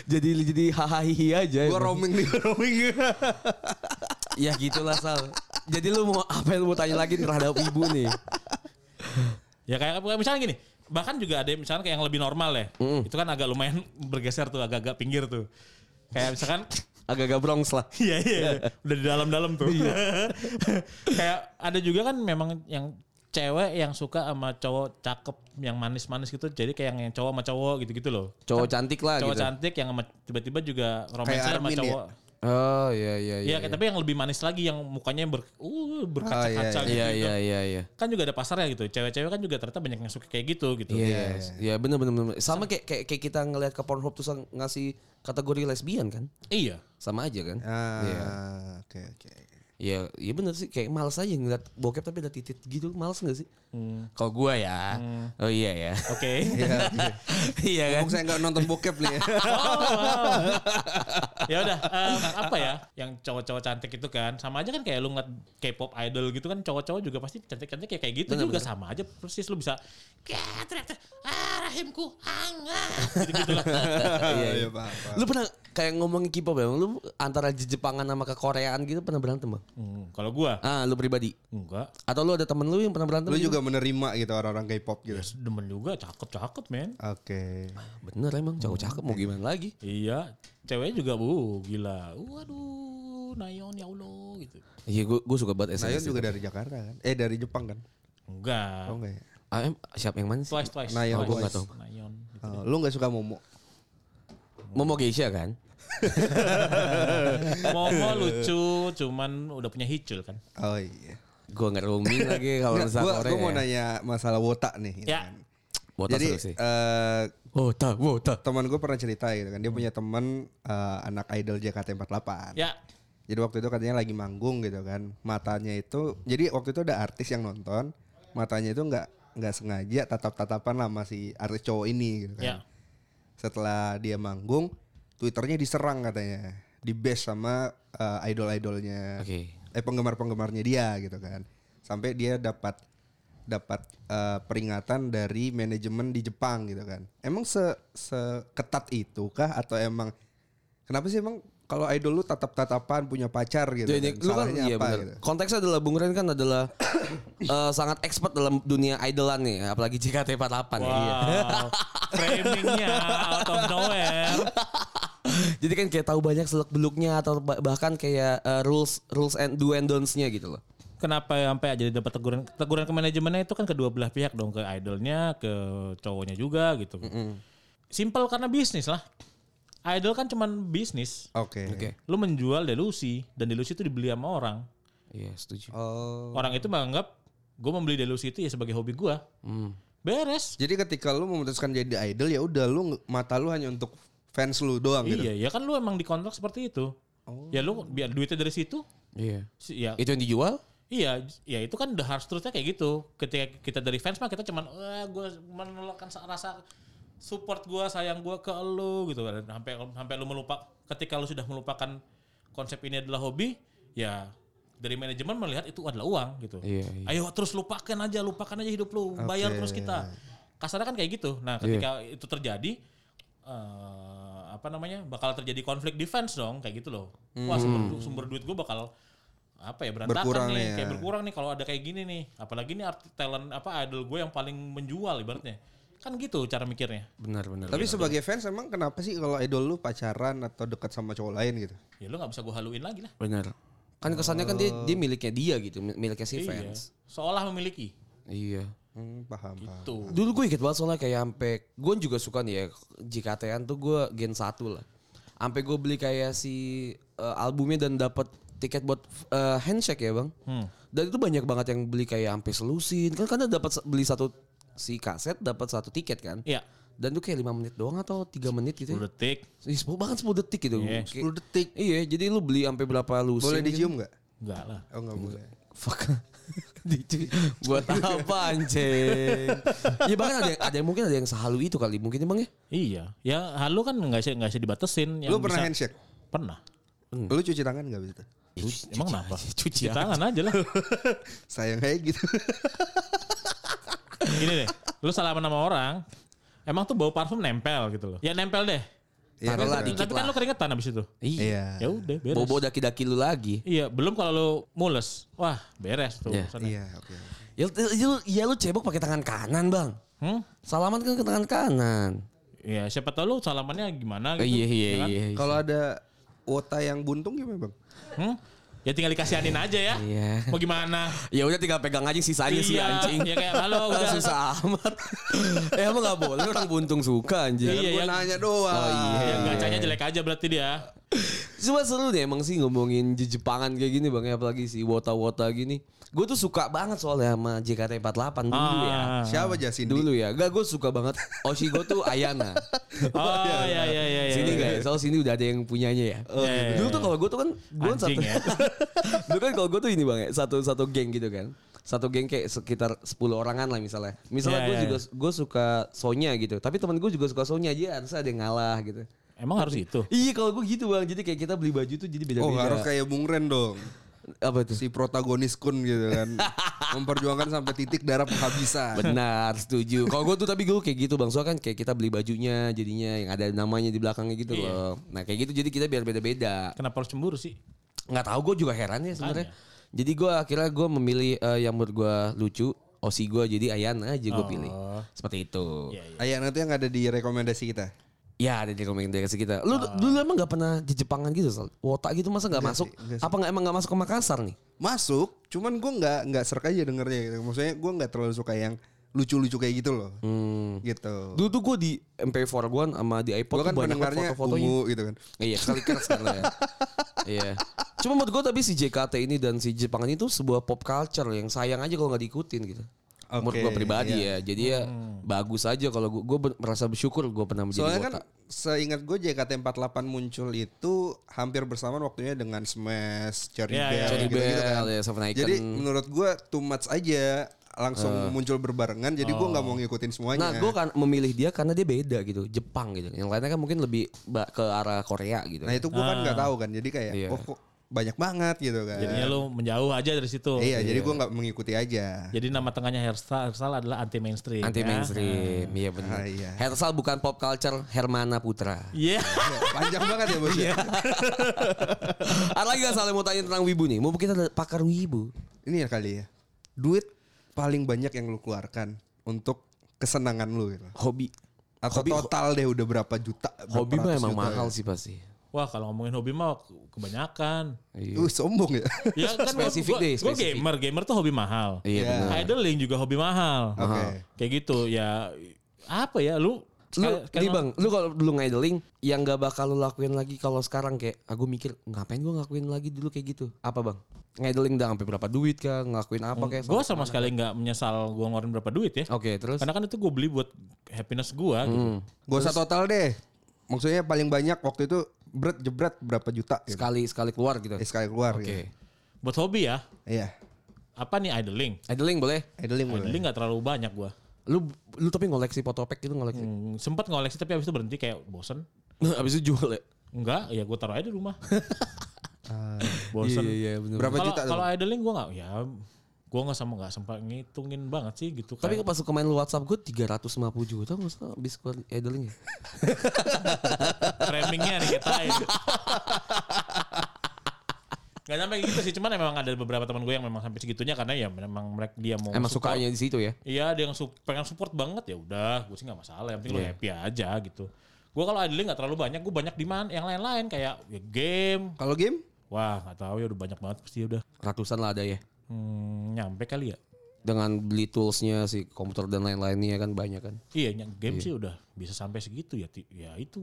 [SPEAKER 2] jadi jadi hahaha aja.
[SPEAKER 1] Gua
[SPEAKER 2] emang.
[SPEAKER 1] roaming nih, gua roaming.
[SPEAKER 2] ya gitulah Sal. jadi lu mau apa yang lu mau tanya lagi terhadap ibu nih?
[SPEAKER 3] Ya kayak kayak misalnya gini, bahkan juga ada yang misalnya kayak yang lebih normal ya. Itu kan agak lumayan bergeser tuh, agak-agak pinggir tuh. Kayak misalkan,
[SPEAKER 2] Agak-agak brongs lah.
[SPEAKER 3] iya iya, udah di dalam-dalam tuh.
[SPEAKER 2] Iya.
[SPEAKER 3] kayak ada juga kan memang yang cewek yang suka sama cowok cakep yang manis-manis gitu jadi kayak yang- yang cowok sama cowok gitu-gitu loh
[SPEAKER 2] Cowok cantik lah
[SPEAKER 3] cowok
[SPEAKER 2] gitu.
[SPEAKER 3] cantik yang sama- tiba-tiba juga romansa sama
[SPEAKER 1] Armin ya?
[SPEAKER 3] cowok.
[SPEAKER 2] Oh iya iya
[SPEAKER 3] Iya,
[SPEAKER 2] iya. Ah,
[SPEAKER 3] kayak- tapi yang lebih manis lagi yang mukanya ber, uh, berkaca-kaca
[SPEAKER 1] Ah,
[SPEAKER 3] gitu.
[SPEAKER 2] Iya iya iya iya.
[SPEAKER 3] Kan juga ada pasarnya gitu. Cewek-cewek kan juga ternyata banyak yang suka kayak gitu gitu.
[SPEAKER 2] Yes. Iya bener bener bener. Sama kayak kayak, kayak kita ngelihat ke Pornhub tuh sang- ngasih kategori lesbian kan?
[SPEAKER 3] Iya.
[SPEAKER 2] Sama aja kan?
[SPEAKER 1] Ah, oke oke.
[SPEAKER 2] Iya, iya bener sih kayak males aja ngeliat bokep tapi ada titit gitu, males gak sih? Kalau gua ya. Oh iya ya.
[SPEAKER 3] Oke.
[SPEAKER 2] iya kan?
[SPEAKER 1] Mumpung saya nggak nonton bokep nih. ya.
[SPEAKER 3] Oh, wow. ya udah eh, apa ya yang cowok-cowok cantik itu kan sama aja kan kayak lu ngeliat K-pop idol gitu kan cowok-cowok juga pasti cantik-cantik kayak kayak gitu juga sama aja persis lu bisa kayak teriak-teriak ah rahimku hangat gitu-gitu lah.
[SPEAKER 1] Iya iya paham. paham.
[SPEAKER 2] Lu pernah kayak ngomongin K-pop ya, Bang? lu antara Jepangan sama kekoreaan gitu pernah berantem bang?
[SPEAKER 3] Hmm, kalau gua
[SPEAKER 2] Ah, lu pribadi?
[SPEAKER 3] enggak
[SPEAKER 2] Atau lu ada temen lu yang pernah berantem?
[SPEAKER 1] Lu juga menerima gitu orang-orang K-pop gitu.
[SPEAKER 3] Ya, demen juga cakep-cakep men
[SPEAKER 1] Oke.
[SPEAKER 2] Bener emang, cowok cakep mau gimana lagi?
[SPEAKER 3] Iya, ceweknya juga bu, gila. Waduh, Nayon ya Allah gitu.
[SPEAKER 2] Iya, gua, gua suka
[SPEAKER 1] Nayon
[SPEAKER 2] banget SNS.
[SPEAKER 1] Nah, juga dari Jakarta kan? Eh dari Jepang kan? Oh
[SPEAKER 3] Enggak.
[SPEAKER 1] enggak ya?
[SPEAKER 2] Ah, em, siapa yang mana sih?
[SPEAKER 3] Twice, twice.
[SPEAKER 1] Nayon,
[SPEAKER 3] twice.
[SPEAKER 1] gua nggak
[SPEAKER 2] tahu.
[SPEAKER 3] Nayon. gitu.
[SPEAKER 1] Oh, lu nggak suka Momo?
[SPEAKER 2] Momo Geisha kan?
[SPEAKER 3] Momo lucu, cuman udah punya hicul kan.
[SPEAKER 1] Oh iya.
[SPEAKER 2] Gua nggak roaming lagi kalau ya.
[SPEAKER 1] Nggak,
[SPEAKER 2] nggak
[SPEAKER 1] gua,
[SPEAKER 2] Korea.
[SPEAKER 1] gua mau nanya masalah wota nih. gitu
[SPEAKER 3] Ya.
[SPEAKER 1] kan.
[SPEAKER 2] Wota
[SPEAKER 1] Jadi
[SPEAKER 2] seru sih.
[SPEAKER 1] eh,
[SPEAKER 2] Wota, wota.
[SPEAKER 1] teman gue pernah cerita gitu kan. Dia punya teman eh, anak idol JKT48.
[SPEAKER 3] Ya,
[SPEAKER 1] Jadi waktu itu katanya lagi manggung gitu kan. Matanya itu jadi waktu itu ada artis yang nonton, matanya itu nggak nggak sengaja tatap-tatapan lah masih artis cowok ini gitu kan.
[SPEAKER 3] ya.
[SPEAKER 1] Setelah dia manggung, Twitternya diserang katanya. di base sama eh, idol-idolnya
[SPEAKER 2] Oke.
[SPEAKER 1] eh penggemar-penggemarnya dia gitu kan. Sampai dia dapat dapat eh, peringatan dari manajemen di Jepang gitu kan. Emang se seketat itu kah atau emang kenapa sih emang kalau idol lu tatap-tatapan punya pacar gitu
[SPEAKER 2] Jadi
[SPEAKER 1] kan.
[SPEAKER 2] lu kan
[SPEAKER 1] Salahnya
[SPEAKER 2] iya
[SPEAKER 1] apa
[SPEAKER 2] benar.
[SPEAKER 1] gitu.
[SPEAKER 2] Konteksnya adalah Bung Ren kan adalah eh, sangat expert dalam dunia idolan nih, apalagi JKT48
[SPEAKER 1] Nah,
[SPEAKER 2] ya.
[SPEAKER 1] iya.
[SPEAKER 3] Wow, framingnya out of nowhere.
[SPEAKER 2] Jadi kan kayak tahu banyak seluk beluknya atau ba- bahkan kayak eh, rules rules and do and don'ts-nya gitu loh.
[SPEAKER 3] Kenapa sampai jadi dapat teguran? Teguran ke manajemennya itu kan kedua belah pihak dong, ke idolnya, ke cowoknya juga gitu. Simpel karena bisnis lah. Idol kan cuman bisnis.
[SPEAKER 1] Oke.
[SPEAKER 2] Oke.
[SPEAKER 3] Lu menjual delusi dan delusi itu dibeli sama orang.
[SPEAKER 2] Iya, setuju.
[SPEAKER 1] Oh.
[SPEAKER 3] Orang itu menganggap gue membeli delusi itu ya sebagai hobi gua.
[SPEAKER 2] Hmm.
[SPEAKER 3] Beres.
[SPEAKER 1] Jadi ketika lu memutuskan jadi idol ya udah lu nge- mata lu hanya untuk fans lu doang gitu.
[SPEAKER 3] Iya, ya kan lu emang dikontrak seperti itu. Ya lu biar duitnya dari situ.
[SPEAKER 2] Iya.
[SPEAKER 3] si- Ya
[SPEAKER 2] Itu yang dijual?
[SPEAKER 3] Iya, ya itu kan the hard truth-nya kayak gitu. Ketika kita dari fans mah kita cuman wah gua menolakkan sa- rasa support gua, sayang gua ke lu gitu kan. Sampai sampai lu melupa ketika lu sudah melupakan konsep ini adalah hobi, ya dari manajemen melihat itu adalah uang gitu.
[SPEAKER 2] Iya, iya.
[SPEAKER 3] Ayo terus lupakan aja, lupakan aja hidup lu, bayar terus kita. Kasarnya kan kayak gitu.
[SPEAKER 2] Iya.
[SPEAKER 3] Nah, ketika itu terjadi eh, apa namanya? bakal terjadi konflik defense dong kayak gitu loh. Wah, sumber,
[SPEAKER 2] Hmm.
[SPEAKER 3] du- sumber duit gua bakal apa ya berantakan
[SPEAKER 1] Berkurang
[SPEAKER 3] nih,
[SPEAKER 1] nih,
[SPEAKER 3] kayak
[SPEAKER 1] ya.
[SPEAKER 3] berkurang nih kalau ada kayak gini nih. Apalagi nih arti- talent apa idol gue yang paling menjual ibaratnya. Kan gitu cara mikirnya.
[SPEAKER 2] Benar, iya, benar.
[SPEAKER 1] Tapi sebagai fans emang kenapa sih kalau idol lu pacaran atau dekat sama cowok lain gitu?
[SPEAKER 3] Ya lu nggak bisa gue haluin lagi lah.
[SPEAKER 2] Benar. Kan kesannya kan dia dia miliknya dia gitu, mi- miliknya si fans.
[SPEAKER 3] Iya, Seolah memiliki.
[SPEAKER 2] Iya.
[SPEAKER 1] Hmm, paham, paham.
[SPEAKER 3] Tuh.
[SPEAKER 2] Dulu gue inget banget soalnya kayak sampai gue juga suka nih ya JKT-an tuh gue gen 1 lah. Sampai gue beli kayak si eh, albumnya dan dapat tiket buat eh, handshake ya, Bang.
[SPEAKER 3] Hmm.
[SPEAKER 2] Dan itu banyak banget yang beli kayak sampai selusin. Kan karena dapat se- beli satu si kaset dapat satu tiket kan.
[SPEAKER 3] Iya.
[SPEAKER 2] Dan itu kayak 5 menit doang atau 3 menit gitu. Ya.
[SPEAKER 3] 10 detik.
[SPEAKER 2] Ih, 10 bahkan 10 detik gitu.
[SPEAKER 3] Iya.
[SPEAKER 2] Kayak-
[SPEAKER 1] 10 detik.
[SPEAKER 2] Iya, jadi lu beli sampai berapa lusin.
[SPEAKER 1] Boleh
[SPEAKER 2] gitu.
[SPEAKER 1] dicium nggak?
[SPEAKER 3] Enggak lah.
[SPEAKER 1] Oh nggak boleh.
[SPEAKER 2] Fuck. Dicu- buat apa anjing? ya bahkan ada yang, ada yang mungkin ada yang sehalu itu kali mungkin emang ya.
[SPEAKER 3] Iya. Ya halu kan nggak bisa nggak bisa dibatesin. Yang
[SPEAKER 1] Lu pernah
[SPEAKER 3] bisa-
[SPEAKER 1] handshake?
[SPEAKER 3] Pernah. Hmm.
[SPEAKER 1] Lu cuci tangan nggak bisa?
[SPEAKER 3] Emang kenapa?
[SPEAKER 2] Cuci
[SPEAKER 3] Cuci tangan aja lah.
[SPEAKER 1] Sayang kayak gitu.
[SPEAKER 3] Gini deh. Lu salaman sama orang. Emang tuh bau parfum nempel gitu loh. Ya nempel deh.
[SPEAKER 1] Iya,
[SPEAKER 2] Taruh lah
[SPEAKER 1] bener.
[SPEAKER 2] dikit
[SPEAKER 3] Tapi kan
[SPEAKER 2] lah.
[SPEAKER 3] lu keringetan abis itu.
[SPEAKER 2] Iya.
[SPEAKER 1] Iya.
[SPEAKER 3] Ya udah beres.
[SPEAKER 2] Bobo daki-daki lu lagi.
[SPEAKER 3] Iya, belum kalau lu mules. Wah, beres tuh.
[SPEAKER 2] Iya.
[SPEAKER 3] urusannya.
[SPEAKER 1] Iya, oke.
[SPEAKER 2] Ya, ya, lu- ya lu cebok pakai tangan kanan, Bang.
[SPEAKER 3] Hmm?
[SPEAKER 2] Salaman kan ke tangan kanan.
[SPEAKER 3] Iya, siapa tahu lu salamannya
[SPEAKER 2] Oh,
[SPEAKER 3] gimana
[SPEAKER 2] iya,
[SPEAKER 3] gitu. ya kan?
[SPEAKER 1] Kalau ada wota yang buntung gimana, Bang?
[SPEAKER 3] Hmm? Ya tinggal dikasihanin aja ya.
[SPEAKER 2] Iya.
[SPEAKER 3] Mau gimana?
[SPEAKER 2] Ya udah tinggal pegang aja sisanya sih
[SPEAKER 3] Iya,
[SPEAKER 2] anjing.
[SPEAKER 3] ya kayak, halo, udah.
[SPEAKER 2] susah amat. eh emang gak boleh orang buntung suka anjing.
[SPEAKER 3] Iya,
[SPEAKER 1] Kan Gua
[SPEAKER 3] yang-
[SPEAKER 1] nanya doang.
[SPEAKER 2] Iya.
[SPEAKER 1] Iya.
[SPEAKER 3] Yang gacanya jelek aja berarti dia.
[SPEAKER 2] Cuma seru deh emang sih ngomongin di Jepangan kayak gini bang ya apalagi si wota-wota gini. Gue tuh suka banget soalnya sama JKT48 dulu ya.
[SPEAKER 3] Ah.
[SPEAKER 1] Siapa Jasin?
[SPEAKER 2] Dulu ya. Gak gue suka banget Oshigo tuh Ayana.
[SPEAKER 3] Oh, iya iya iya iya.
[SPEAKER 2] sini guys, soal sini udah ada yang punyanya ya.
[SPEAKER 3] iya,
[SPEAKER 2] Dulu tuh kalau gue tuh kan gue
[SPEAKER 3] Anjing
[SPEAKER 2] satu.
[SPEAKER 3] ya.
[SPEAKER 2] Dulu kan kalau gue tuh ini bang ya satu satu geng gitu kan. Satu geng kayak sekitar 10 orangan lah misalnya. Misalnya
[SPEAKER 3] Iya,
[SPEAKER 2] gue
[SPEAKER 3] iya,
[SPEAKER 2] juga gue suka Sonya gitu. Tapi teman gue juga suka Sonya aja harus ada yang ngalah gitu.
[SPEAKER 3] Emang harus itu.
[SPEAKER 2] Iya kalau gue gitu bang. Jadi kayak kita beli baju tuh jadi beda-beda.
[SPEAKER 1] Oh, harus kayak Bung Ren dong.
[SPEAKER 2] apa tuh?
[SPEAKER 1] Si protagonis kun gitu kan. Memperjuangkan sampai titik darah penghabisan.
[SPEAKER 2] Benar, setuju. Kalau gue tuh tapi gue kayak gitu bang, soalnya kan kayak kita beli bajunya, jadinya yang ada namanya di belakangnya gitu loh. Nah kayak gitu jadi kita biar beda-beda.
[SPEAKER 3] Kenapa harus cemburu sih?
[SPEAKER 2] Nggak tahu gue juga heran ya sebenarnya. Jadi gue akhirnya gue memilih eh, yang menurut gue lucu, osi gue jadi Ayana aja gue pilih. Seperti itu.
[SPEAKER 3] Iya, iya.
[SPEAKER 1] Ayah nanti yang ada di rekomendasi kita.
[SPEAKER 2] Ya ada di rekomendasi kita. Lu dulu emang nggak pernah di Jepangan gitu, Sal? Wota gitu masa Oh. nggak masuk? Apa nggak emang nggak masuk ke Makassar nih?
[SPEAKER 1] Masuk, cuman gue nggak nggak serk aja dengernya gitu. Maksudnya gue nggak terlalu suka yang lucu-lucu kayak gitu loh.
[SPEAKER 3] Hmm.
[SPEAKER 1] Gitu.
[SPEAKER 2] Dulu tuh gue di MP4 gue sama di iPod
[SPEAKER 1] Gue
[SPEAKER 2] tuh
[SPEAKER 1] kan
[SPEAKER 2] banyak banget
[SPEAKER 1] pendengarnya
[SPEAKER 2] foto-fotonya.
[SPEAKER 1] ungu gitu kan.
[SPEAKER 2] Iya kali keras kan lo ya. Iya. Cuma menurut gue tapi si JKT ini dan si Jepang ini tuh sebuah pop culture yang sayang aja kalau nggak diikutin gitu. Menurut
[SPEAKER 1] Oke, iya. Hmm.
[SPEAKER 2] gue pribadi ya. Jadi ya bagus aja kalau gue gue merasa bersyukur gue pernah menjadi
[SPEAKER 1] Soalnya
[SPEAKER 2] wota.
[SPEAKER 1] kan seingat gue JKT48 muncul itu hampir bersamaan waktunya dengan Smash, Cherry
[SPEAKER 3] Iya,
[SPEAKER 1] Bell,
[SPEAKER 3] iya,
[SPEAKER 2] Ya, Cherry
[SPEAKER 1] gitu-gitu
[SPEAKER 2] Bell,
[SPEAKER 1] kan.
[SPEAKER 2] ya, Seven Icon.
[SPEAKER 1] Jadi menurut gue too much aja langsung muncul berbarengan jadi gua nggak mau ngikutin semuanya
[SPEAKER 2] Eh. Nah, gue kan memilih dia karena dia beda gitu, Jepang gitu. Yang lainnya kan mungkin lebih ba- ke arah Korea gitu.
[SPEAKER 1] nah itu gua kan nggak tahu kan jadi kayak
[SPEAKER 2] Iya.
[SPEAKER 1] oh kok banyak banget gitu kan
[SPEAKER 3] Jadinya lu menjauh aja dari situ.
[SPEAKER 1] iya, jadi gua nggak mengikuti aja
[SPEAKER 3] Jadi nama tengahnya hairstyle, hairstyle adalah anti mainstream.
[SPEAKER 2] Anti
[SPEAKER 3] ya.
[SPEAKER 2] mainstream, iya benar.
[SPEAKER 1] Ah, iya.
[SPEAKER 2] Hersal bukan pop culture, Hermana Putra.
[SPEAKER 3] Iya.
[SPEAKER 1] Iya, panjang banget ya
[SPEAKER 2] Iya.
[SPEAKER 1] bos ya.
[SPEAKER 2] Ada lagi gak salah mau tanya tentang wibu nih? Mau kita ada pakar wibu.
[SPEAKER 1] ini ya kali ya duit paling banyak yang lu keluarkan untuk kesenangan lu gitu
[SPEAKER 2] Hobi.
[SPEAKER 1] atau total deh udah berapa juta berapa
[SPEAKER 2] Hobi mah
[SPEAKER 1] ratus
[SPEAKER 2] emang
[SPEAKER 1] juta
[SPEAKER 2] mahal sih pasti.
[SPEAKER 3] Wah kalau ngomongin hobi mah kebanyakan.
[SPEAKER 2] iya.
[SPEAKER 1] ya. Uh, sombong ya
[SPEAKER 3] Ya kan
[SPEAKER 2] Spesifik
[SPEAKER 3] gua,
[SPEAKER 2] deh,
[SPEAKER 3] gua
[SPEAKER 2] spesifik.
[SPEAKER 3] gamer, gamer tuh hobi mahal.
[SPEAKER 2] Iya
[SPEAKER 1] Iya.
[SPEAKER 2] benar.
[SPEAKER 3] Idling juga hobi mahal.
[SPEAKER 1] oke
[SPEAKER 3] Kayak gitu ya apa ya lu
[SPEAKER 2] Lu,
[SPEAKER 3] sekali- sekali
[SPEAKER 2] nih bang, lu kalau dulu ngideling yang gak bakal lu lakuin lagi kalau sekarang kayak, aku mikir ngapain gua ngakuin lagi dulu kayak gitu. Apa bang? Ngideling udah sampai berapa duit kah? Ngelakuin apa kayak?
[SPEAKER 3] Gue sama sekali nggak menyesal gue ngeluarin berapa duit ya.
[SPEAKER 2] Oke terus.
[SPEAKER 3] Karena kan itu gue beli buat happiness gue. Gitu.
[SPEAKER 2] Oh, Hmm.
[SPEAKER 1] Gak usah total deh. Maksudnya paling banyak waktu itu bret jebret berapa juta gitu.
[SPEAKER 2] Sekali sekali keluar gitu.
[SPEAKER 1] Eh,
[SPEAKER 2] Oke.
[SPEAKER 1] sekali keluar gitu.
[SPEAKER 3] Buat hobi ya.
[SPEAKER 1] Iya.
[SPEAKER 3] Apa nih idling?
[SPEAKER 2] Idling boleh?
[SPEAKER 1] Idling boleh.
[SPEAKER 3] Idling nggak terlalu banyak gue.
[SPEAKER 2] Lu lu tapi ngoleksi potopek gitu ngoleksi.
[SPEAKER 3] Hmm, sempet ngoleksi tapi abis itu berhenti kayak bosen.
[SPEAKER 2] Abis itu jual ya.
[SPEAKER 3] Enggak, ya gue taruh aja di rumah.
[SPEAKER 1] Ah,
[SPEAKER 3] bosen.
[SPEAKER 2] iya bener.
[SPEAKER 1] berapa
[SPEAKER 3] Kalau
[SPEAKER 1] juta tuh?
[SPEAKER 3] kalau idling gue nggak ya gue nggak sama nggak sempat ngitungin banget sih gitu
[SPEAKER 2] Tapi
[SPEAKER 3] kayak-
[SPEAKER 2] pas suka main lu WhatsApp gue 350 juta nggak usah habis keluar idling ya.
[SPEAKER 3] framingnya ya. dikatain. Gak sampai gitu sih, cuman memang ada beberapa teman gue yang memang sampai segitunya karena ya memang mereka dia mau
[SPEAKER 2] Emang
[SPEAKER 3] support.
[SPEAKER 2] sukanya di situ ya.
[SPEAKER 3] Iya, dia yang su- pengen support banget ya udah, gue sih nggak masalah,
[SPEAKER 2] Iya.
[SPEAKER 3] yang penting lo happy aja gitu. Gue kalau idling nggak terlalu banyak, gue banyak di mana yang lain-lain kayak ya game.
[SPEAKER 1] Kalau game?
[SPEAKER 3] Wah, nggak tahu ya udah banyak banget pasti udah.
[SPEAKER 2] Ratusan lah ada ya.
[SPEAKER 3] Hmm, nyampe kali ya.
[SPEAKER 2] Dengan beli toolsnya si komputer dan lain-lainnya kan banyak kan.
[SPEAKER 3] Iya, ny- game sih udah bisa sampai segitu ya. Ti- Ya itu,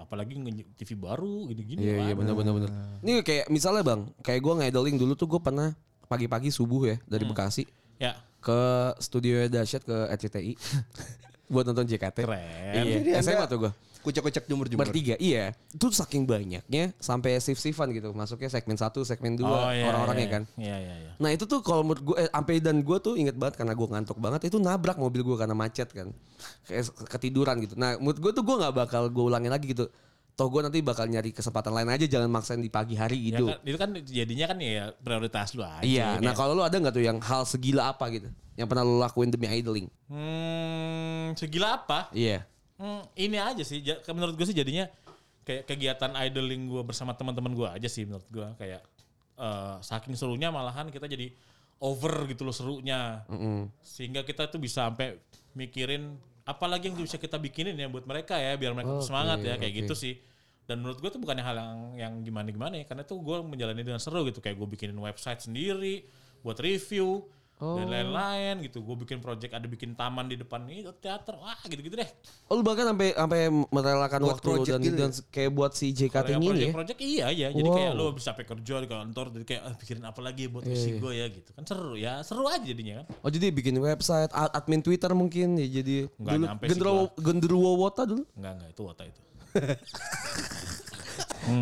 [SPEAKER 3] apalagi nge- TV baru gini-gini.
[SPEAKER 2] Iya iya
[SPEAKER 3] kan.
[SPEAKER 2] benar benar benar. Ini kayak misalnya bang, kayak gue ngideling dulu tuh gue pernah pagi-pagi subuh ya dari Bekasi
[SPEAKER 3] Ya,
[SPEAKER 2] ke studio Dahsyat ke RCTI buat nonton JKT.
[SPEAKER 3] keren.
[SPEAKER 1] Jadi Anda
[SPEAKER 2] Iya. SMA tuh gue.
[SPEAKER 1] Kucek-kucek jumur-jumur.
[SPEAKER 2] Bertiga, iya. Itu saking banyaknya sampai shift-shiftan gitu. Masuknya segmen satu, segmen dua
[SPEAKER 3] iya,
[SPEAKER 2] orang-orangnya
[SPEAKER 3] iya,
[SPEAKER 2] kan.
[SPEAKER 3] Iya iya iya.
[SPEAKER 2] Nah itu tuh kalau menurut gue, eh, sampai dan gue tuh inget banget karena gue ngantuk banget itu nabrak mobil gue karena macet kan, kayak s- ketiduran gitu. Nah menurut gue tuh gue nggak bakal gue ulangin lagi gitu. Toh gue nanti bakal nyari kesempatan lain aja, jangan maksain di pagi hari
[SPEAKER 3] Ya
[SPEAKER 2] gitu.
[SPEAKER 3] kan, itu kan jadinya kan ya prioritas lu aja. gitu.
[SPEAKER 2] Iya.
[SPEAKER 3] Kayak,
[SPEAKER 2] Nah kalau lu ada nggak tuh yang hal segila apa gitu, yang pernah lu lakuin demi idling?
[SPEAKER 3] hmm, segila apa?
[SPEAKER 2] Iya.
[SPEAKER 3] Hmm, ini aja sih. Ja- Menurut gue sih jadinya kayak kegiatan idling gue bersama teman-teman gue aja sih menurut gue kayak eh, saking serunya malahan kita jadi over gitu loh serunya. Sehingga kita tuh bisa sampai mikirin apalagi yang bisa kita bikinin ya buat mereka ya biar mereka
[SPEAKER 2] Oke,
[SPEAKER 3] semangat ya kayak
[SPEAKER 2] oke.
[SPEAKER 3] gitu sih. Dan menurut gue tuh bukannya hal yang yang gimana gimana ya karena tuh gue menjalani dengan seru gitu kayak gue bikinin website sendiri buat review dan
[SPEAKER 2] Oh.
[SPEAKER 3] lain-lain gitu. Gue bikin project ada bikin taman di depan itu teater wah gitu-gitu deh.
[SPEAKER 2] Oh, lu bahkan sampai sampai merelakan
[SPEAKER 1] Buat
[SPEAKER 2] waktu lu
[SPEAKER 1] project
[SPEAKER 2] dan,
[SPEAKER 1] gitu
[SPEAKER 2] dan kayak buat si JKT
[SPEAKER 3] Kayak
[SPEAKER 2] ini ya.
[SPEAKER 3] project-project iya ya.
[SPEAKER 2] Wow.
[SPEAKER 3] Jadi
[SPEAKER 2] Iya,
[SPEAKER 3] kayak lo bisa sampai kerja di kantor jadi kayak ah, pikirin apa lagi buat isi gue ya gitu. Kan seru ya. Seru aja jadinya kan.
[SPEAKER 2] Oh jadi bikin website, ad- admin Twitter mungkin ya jadi
[SPEAKER 3] Nggak
[SPEAKER 2] dulu
[SPEAKER 3] nyampe sih
[SPEAKER 2] genderuwo genderuwo wota dulu.
[SPEAKER 3] Enggak enggak itu otak itu.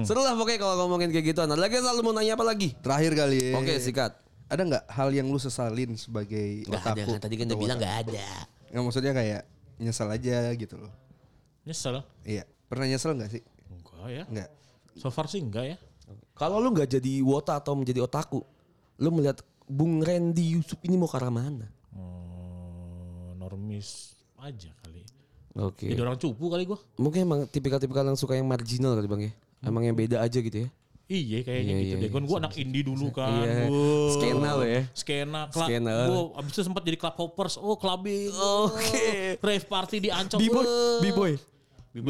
[SPEAKER 2] Seru lah pokoknya kalau ngomongin kayak gituan. Ada lagi selalu mau nanya apa lagi?
[SPEAKER 1] Terakhir kali ya.
[SPEAKER 2] Oke sikat.
[SPEAKER 1] Ada nggak hal yang lu sesalin sebagai otaku?
[SPEAKER 2] udah kan bilang gak ada.
[SPEAKER 1] Nggak maksudnya kayak nyesel aja gitu loh.
[SPEAKER 3] Nyesel.
[SPEAKER 1] Iya. Pernah nyesel nggak sih?
[SPEAKER 3] Enggak ya.
[SPEAKER 1] Nggak.
[SPEAKER 3] So far sih enggak ya.
[SPEAKER 2] Kalau lu nggak jadi wota atau menjadi otaku, lu melihat Bung Randy Yusuf ini mau ke arah mana?
[SPEAKER 3] Hmm, normis aja kali.
[SPEAKER 2] Oke.
[SPEAKER 3] Jadi orang cupu kali gue.
[SPEAKER 2] Mungkin emang tipikal-tipikal yang suka yang marginal kali bang ya. Emang yang beda aja gitu ya.
[SPEAKER 3] Iya kayaknya
[SPEAKER 2] Iya,
[SPEAKER 3] gitu
[SPEAKER 2] iya,
[SPEAKER 3] deh. Kan gue anak indie dulu kan.
[SPEAKER 2] Iya.
[SPEAKER 3] Wow.
[SPEAKER 2] Skena lo ya.
[SPEAKER 3] Skena. Club.
[SPEAKER 2] Skena.
[SPEAKER 3] Wow, abis itu sempat jadi club hoppers. Oh clubbing. Oke. Rave party di Ancol.
[SPEAKER 2] B-boy,
[SPEAKER 3] Wow.
[SPEAKER 2] B-boy.
[SPEAKER 3] B-boy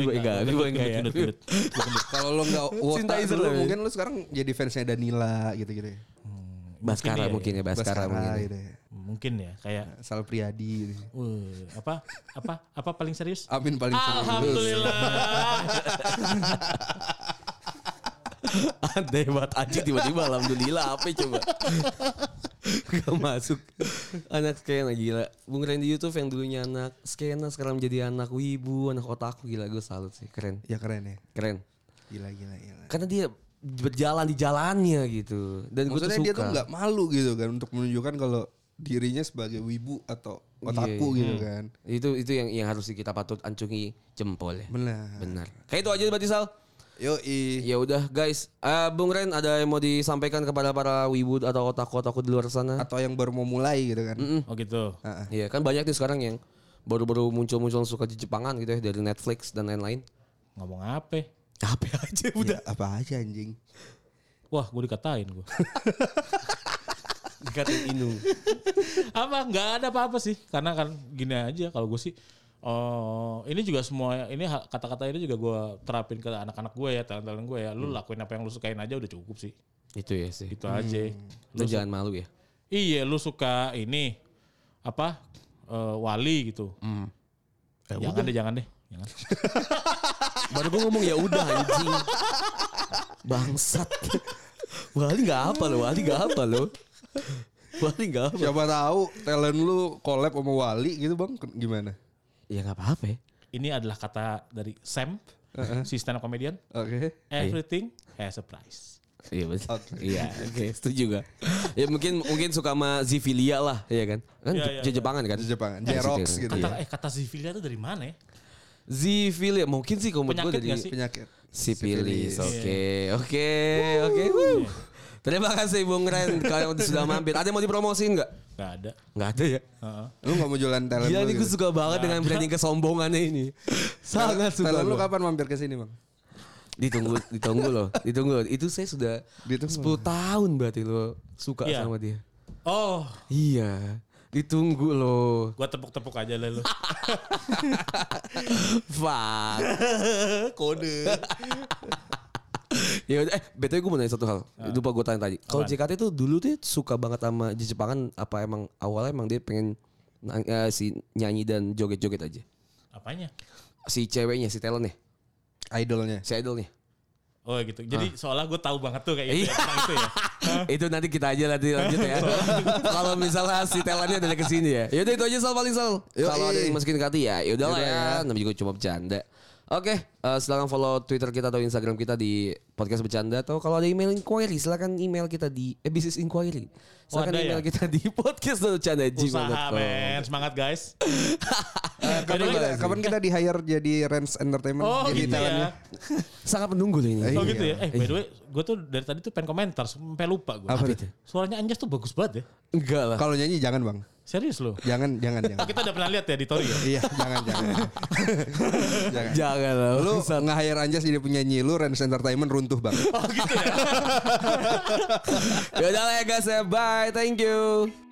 [SPEAKER 2] B-boy enggak,
[SPEAKER 3] Gendut,
[SPEAKER 2] B-boy enggak
[SPEAKER 3] gendut,
[SPEAKER 2] ya.
[SPEAKER 3] gendut, gendut. Gua gendut.
[SPEAKER 1] Kalau lu nggak wota
[SPEAKER 2] Sintaizer
[SPEAKER 1] dulu,
[SPEAKER 2] lah ya.
[SPEAKER 1] mungkin lu sekarang jadi fansnya Danila gitu-gitu ya.
[SPEAKER 2] Baskara mungkin ya, Baskara mungkin. ya.
[SPEAKER 1] gitu ya.
[SPEAKER 3] Mungkin ya kayak
[SPEAKER 1] Sal Priadi. gitu.
[SPEAKER 3] Wih, apa apa apa paling serius?
[SPEAKER 1] Amin paling serius.
[SPEAKER 3] Alhamdulillah.
[SPEAKER 2] Aneh banget aja tiba-tiba alhamdulillah apa ya, coba. Gak masuk. Anak skena gila. Bung Randy Yusuf yang dulunya anak skena sekarang menjadi anak wibu, anak otaku gila gue salut sih. Keren.
[SPEAKER 1] Ya keren ya.
[SPEAKER 2] Keren.
[SPEAKER 1] Gila gila gila.
[SPEAKER 2] Karena dia berjalan di jalannya gitu. Dan gue tuh
[SPEAKER 1] Maksudnya
[SPEAKER 2] suka.
[SPEAKER 1] dia tuh nggak malu gitu kan untuk menunjukkan kalau dirinya sebagai wibu atau otaku gitu kan.
[SPEAKER 2] Itu itu yang yang harus kita patut ancungi jempol ya.
[SPEAKER 1] Benar.
[SPEAKER 2] Benar. Kayak itu aja berarti Sal.
[SPEAKER 1] Yoi.
[SPEAKER 2] Ya udah guys, Eh, Bung Ren ada yang mau disampaikan kepada para wibu atau otaku-otaku di luar sana?
[SPEAKER 1] Atau yang baru mau mulai gitu kan.
[SPEAKER 3] Oh gitu.
[SPEAKER 2] Iya kan banyak tuh sekarang yang baru-baru muncul-muncul suka di Jepangan gitu ya dari Netflix dan lain-lain.
[SPEAKER 3] Ngomong apa? Iya.
[SPEAKER 2] Apa aja
[SPEAKER 1] Ya, apa aja anjing.
[SPEAKER 3] Wah, gue dikatain gue.
[SPEAKER 2] Dikatain Inu.
[SPEAKER 3] apa? Nggak ada apa-apa sih. Karena kan gini aja kalau gue sih. Oh, ini juga semua ini ha- kata-kata ini juga gue terapin ke anak-anak gue ya, talent-talent gue ya.
[SPEAKER 2] Hmm.
[SPEAKER 3] Lu lakuin apa yang lu sukain aja udah cukup sih.
[SPEAKER 2] Itu ya sih.
[SPEAKER 3] Gitu aja.
[SPEAKER 2] Lu jangan malu ya.
[SPEAKER 3] Iya, lu suka ini apa? eh, wali gitu.
[SPEAKER 2] Hmm. Ya
[SPEAKER 3] jangan deh, jangan deh. Jangan.
[SPEAKER 2] Baru gue ngomong ya udah anjing. Bangsat. Wali nggak apa lo, Wali nggak apa lo. Wali nggak apa.
[SPEAKER 1] Siapa tahu talent lu collab sama Wali gitu bang Ken- gimana?
[SPEAKER 2] Ya nggak apa-apa. ya.
[SPEAKER 3] Ini adalah kata dari Sam, si stand up comedian.
[SPEAKER 1] Oke.
[SPEAKER 3] Everything has a price.
[SPEAKER 2] Iya betul.
[SPEAKER 1] Oke.
[SPEAKER 2] Iya, oke, setuju gak? Ya mungkin mungkin suka sama Zivilia lah, ya kan? Kan
[SPEAKER 3] Iya,
[SPEAKER 2] Je-
[SPEAKER 3] iya,
[SPEAKER 2] Je- Jepangan kan?
[SPEAKER 1] Di Jepangan. Jerox
[SPEAKER 2] Iya.
[SPEAKER 1] gitu
[SPEAKER 3] Kata,
[SPEAKER 1] ya.
[SPEAKER 3] eh kata Zivilia itu dari mana ya?
[SPEAKER 2] Zivilia mungkin sih kalau menurut gue
[SPEAKER 3] Penyakit
[SPEAKER 2] dari
[SPEAKER 3] nggak sih?
[SPEAKER 1] Penyakit.
[SPEAKER 2] sipilis. Oke, oke, oke. Wuh. Terima kasih Bung Ren kalau sudah mampir. Ada yang mau dipromosin nggak?
[SPEAKER 3] Gak ada.
[SPEAKER 2] Nggak ada ya.
[SPEAKER 3] Heeh.
[SPEAKER 1] Lu gak mau jualan talent
[SPEAKER 2] Gila
[SPEAKER 1] lu
[SPEAKER 2] Iya, ini gue
[SPEAKER 1] gitu?
[SPEAKER 2] suka banget dengan branding kesombongannya ini. Sangat suka.
[SPEAKER 1] Talent lu
[SPEAKER 2] gua.
[SPEAKER 1] kapan mampir ke sini bang?
[SPEAKER 2] Ditunggu, ditunggu loh, ditunggu. loh. Itu saya sudah
[SPEAKER 1] Ditunggu.
[SPEAKER 2] 10 tahun berarti lo suka
[SPEAKER 3] Iya.
[SPEAKER 2] sama dia.
[SPEAKER 3] Oh,
[SPEAKER 2] Iya, ditunggu loh.
[SPEAKER 3] gua tepuk-tepuk aja lah lu.
[SPEAKER 2] Fuck. Kode. ya udah, eh btw gue mau nanya satu hal. Lupa gue tanya tadi. Kalau JKT tuh dulu tuh suka banget sama di Jepangan apa emang awalnya emang dia pengen na- eh, si nyanyi dan joget-joget aja.
[SPEAKER 3] Apanya?
[SPEAKER 2] Si ceweknya, si talentnya,
[SPEAKER 1] Idolnya.
[SPEAKER 2] si idolnya.
[SPEAKER 3] Oh gitu.
[SPEAKER 1] Ah.
[SPEAKER 3] Jadi seolah gue tahu banget tuh kayak
[SPEAKER 1] Iya.
[SPEAKER 3] gitu ya, tentang itu ya.
[SPEAKER 2] itu nanti kita aja nanti lanjut ya. Kalau misalnya si talentnya dari kesini ya. Yaudah itu aja Sal paling Sal.
[SPEAKER 1] Yoi.
[SPEAKER 2] Kalau ada yang masukin ke hati ya yaudah lah
[SPEAKER 1] Yaudah
[SPEAKER 2] ya. Namanya juga cuma bercanda. Oke, eh, silakan follow Twitter kita atau Instagram kita di podcast bercanda atau kalau ada email inquiry silakan email kita di eh, business inquiry.
[SPEAKER 3] Oh,
[SPEAKER 2] Silakan
[SPEAKER 3] ada
[SPEAKER 2] email
[SPEAKER 3] ya?
[SPEAKER 2] kita di podcast bercanda
[SPEAKER 3] Usaha men, semangat guys. Eh, by the
[SPEAKER 1] Kapan
[SPEAKER 3] way,
[SPEAKER 1] kita, kapan kita di hire jadi Rens Entertainment?
[SPEAKER 3] Oh
[SPEAKER 1] jadi
[SPEAKER 3] gitu ya.
[SPEAKER 2] Sangat menunggu loh ini.
[SPEAKER 3] Oh
[SPEAKER 1] Iya.
[SPEAKER 3] gitu ya. Eh by the way, gue tuh dari tadi tuh pengen komentar, sampai lupa gue.
[SPEAKER 1] Apa itu?
[SPEAKER 3] Suaranya Anjas tuh bagus banget ya.
[SPEAKER 2] Enggak lah.
[SPEAKER 1] Kalau nyanyi jangan bang.
[SPEAKER 3] Serius loh.
[SPEAKER 1] Jangan, jangan, jangan.
[SPEAKER 3] Kita udah pernah lihat ya di Tori ya.
[SPEAKER 1] iya, jangan, jangan. jangan.
[SPEAKER 2] Jangan lah.
[SPEAKER 1] Lu nge-hire Anjas jadi penyanyi lu Rens Entertainment runtuh bang.
[SPEAKER 3] Oh gitu ya.
[SPEAKER 2] Yaudah lah ya guys ya. Bye. Thank you.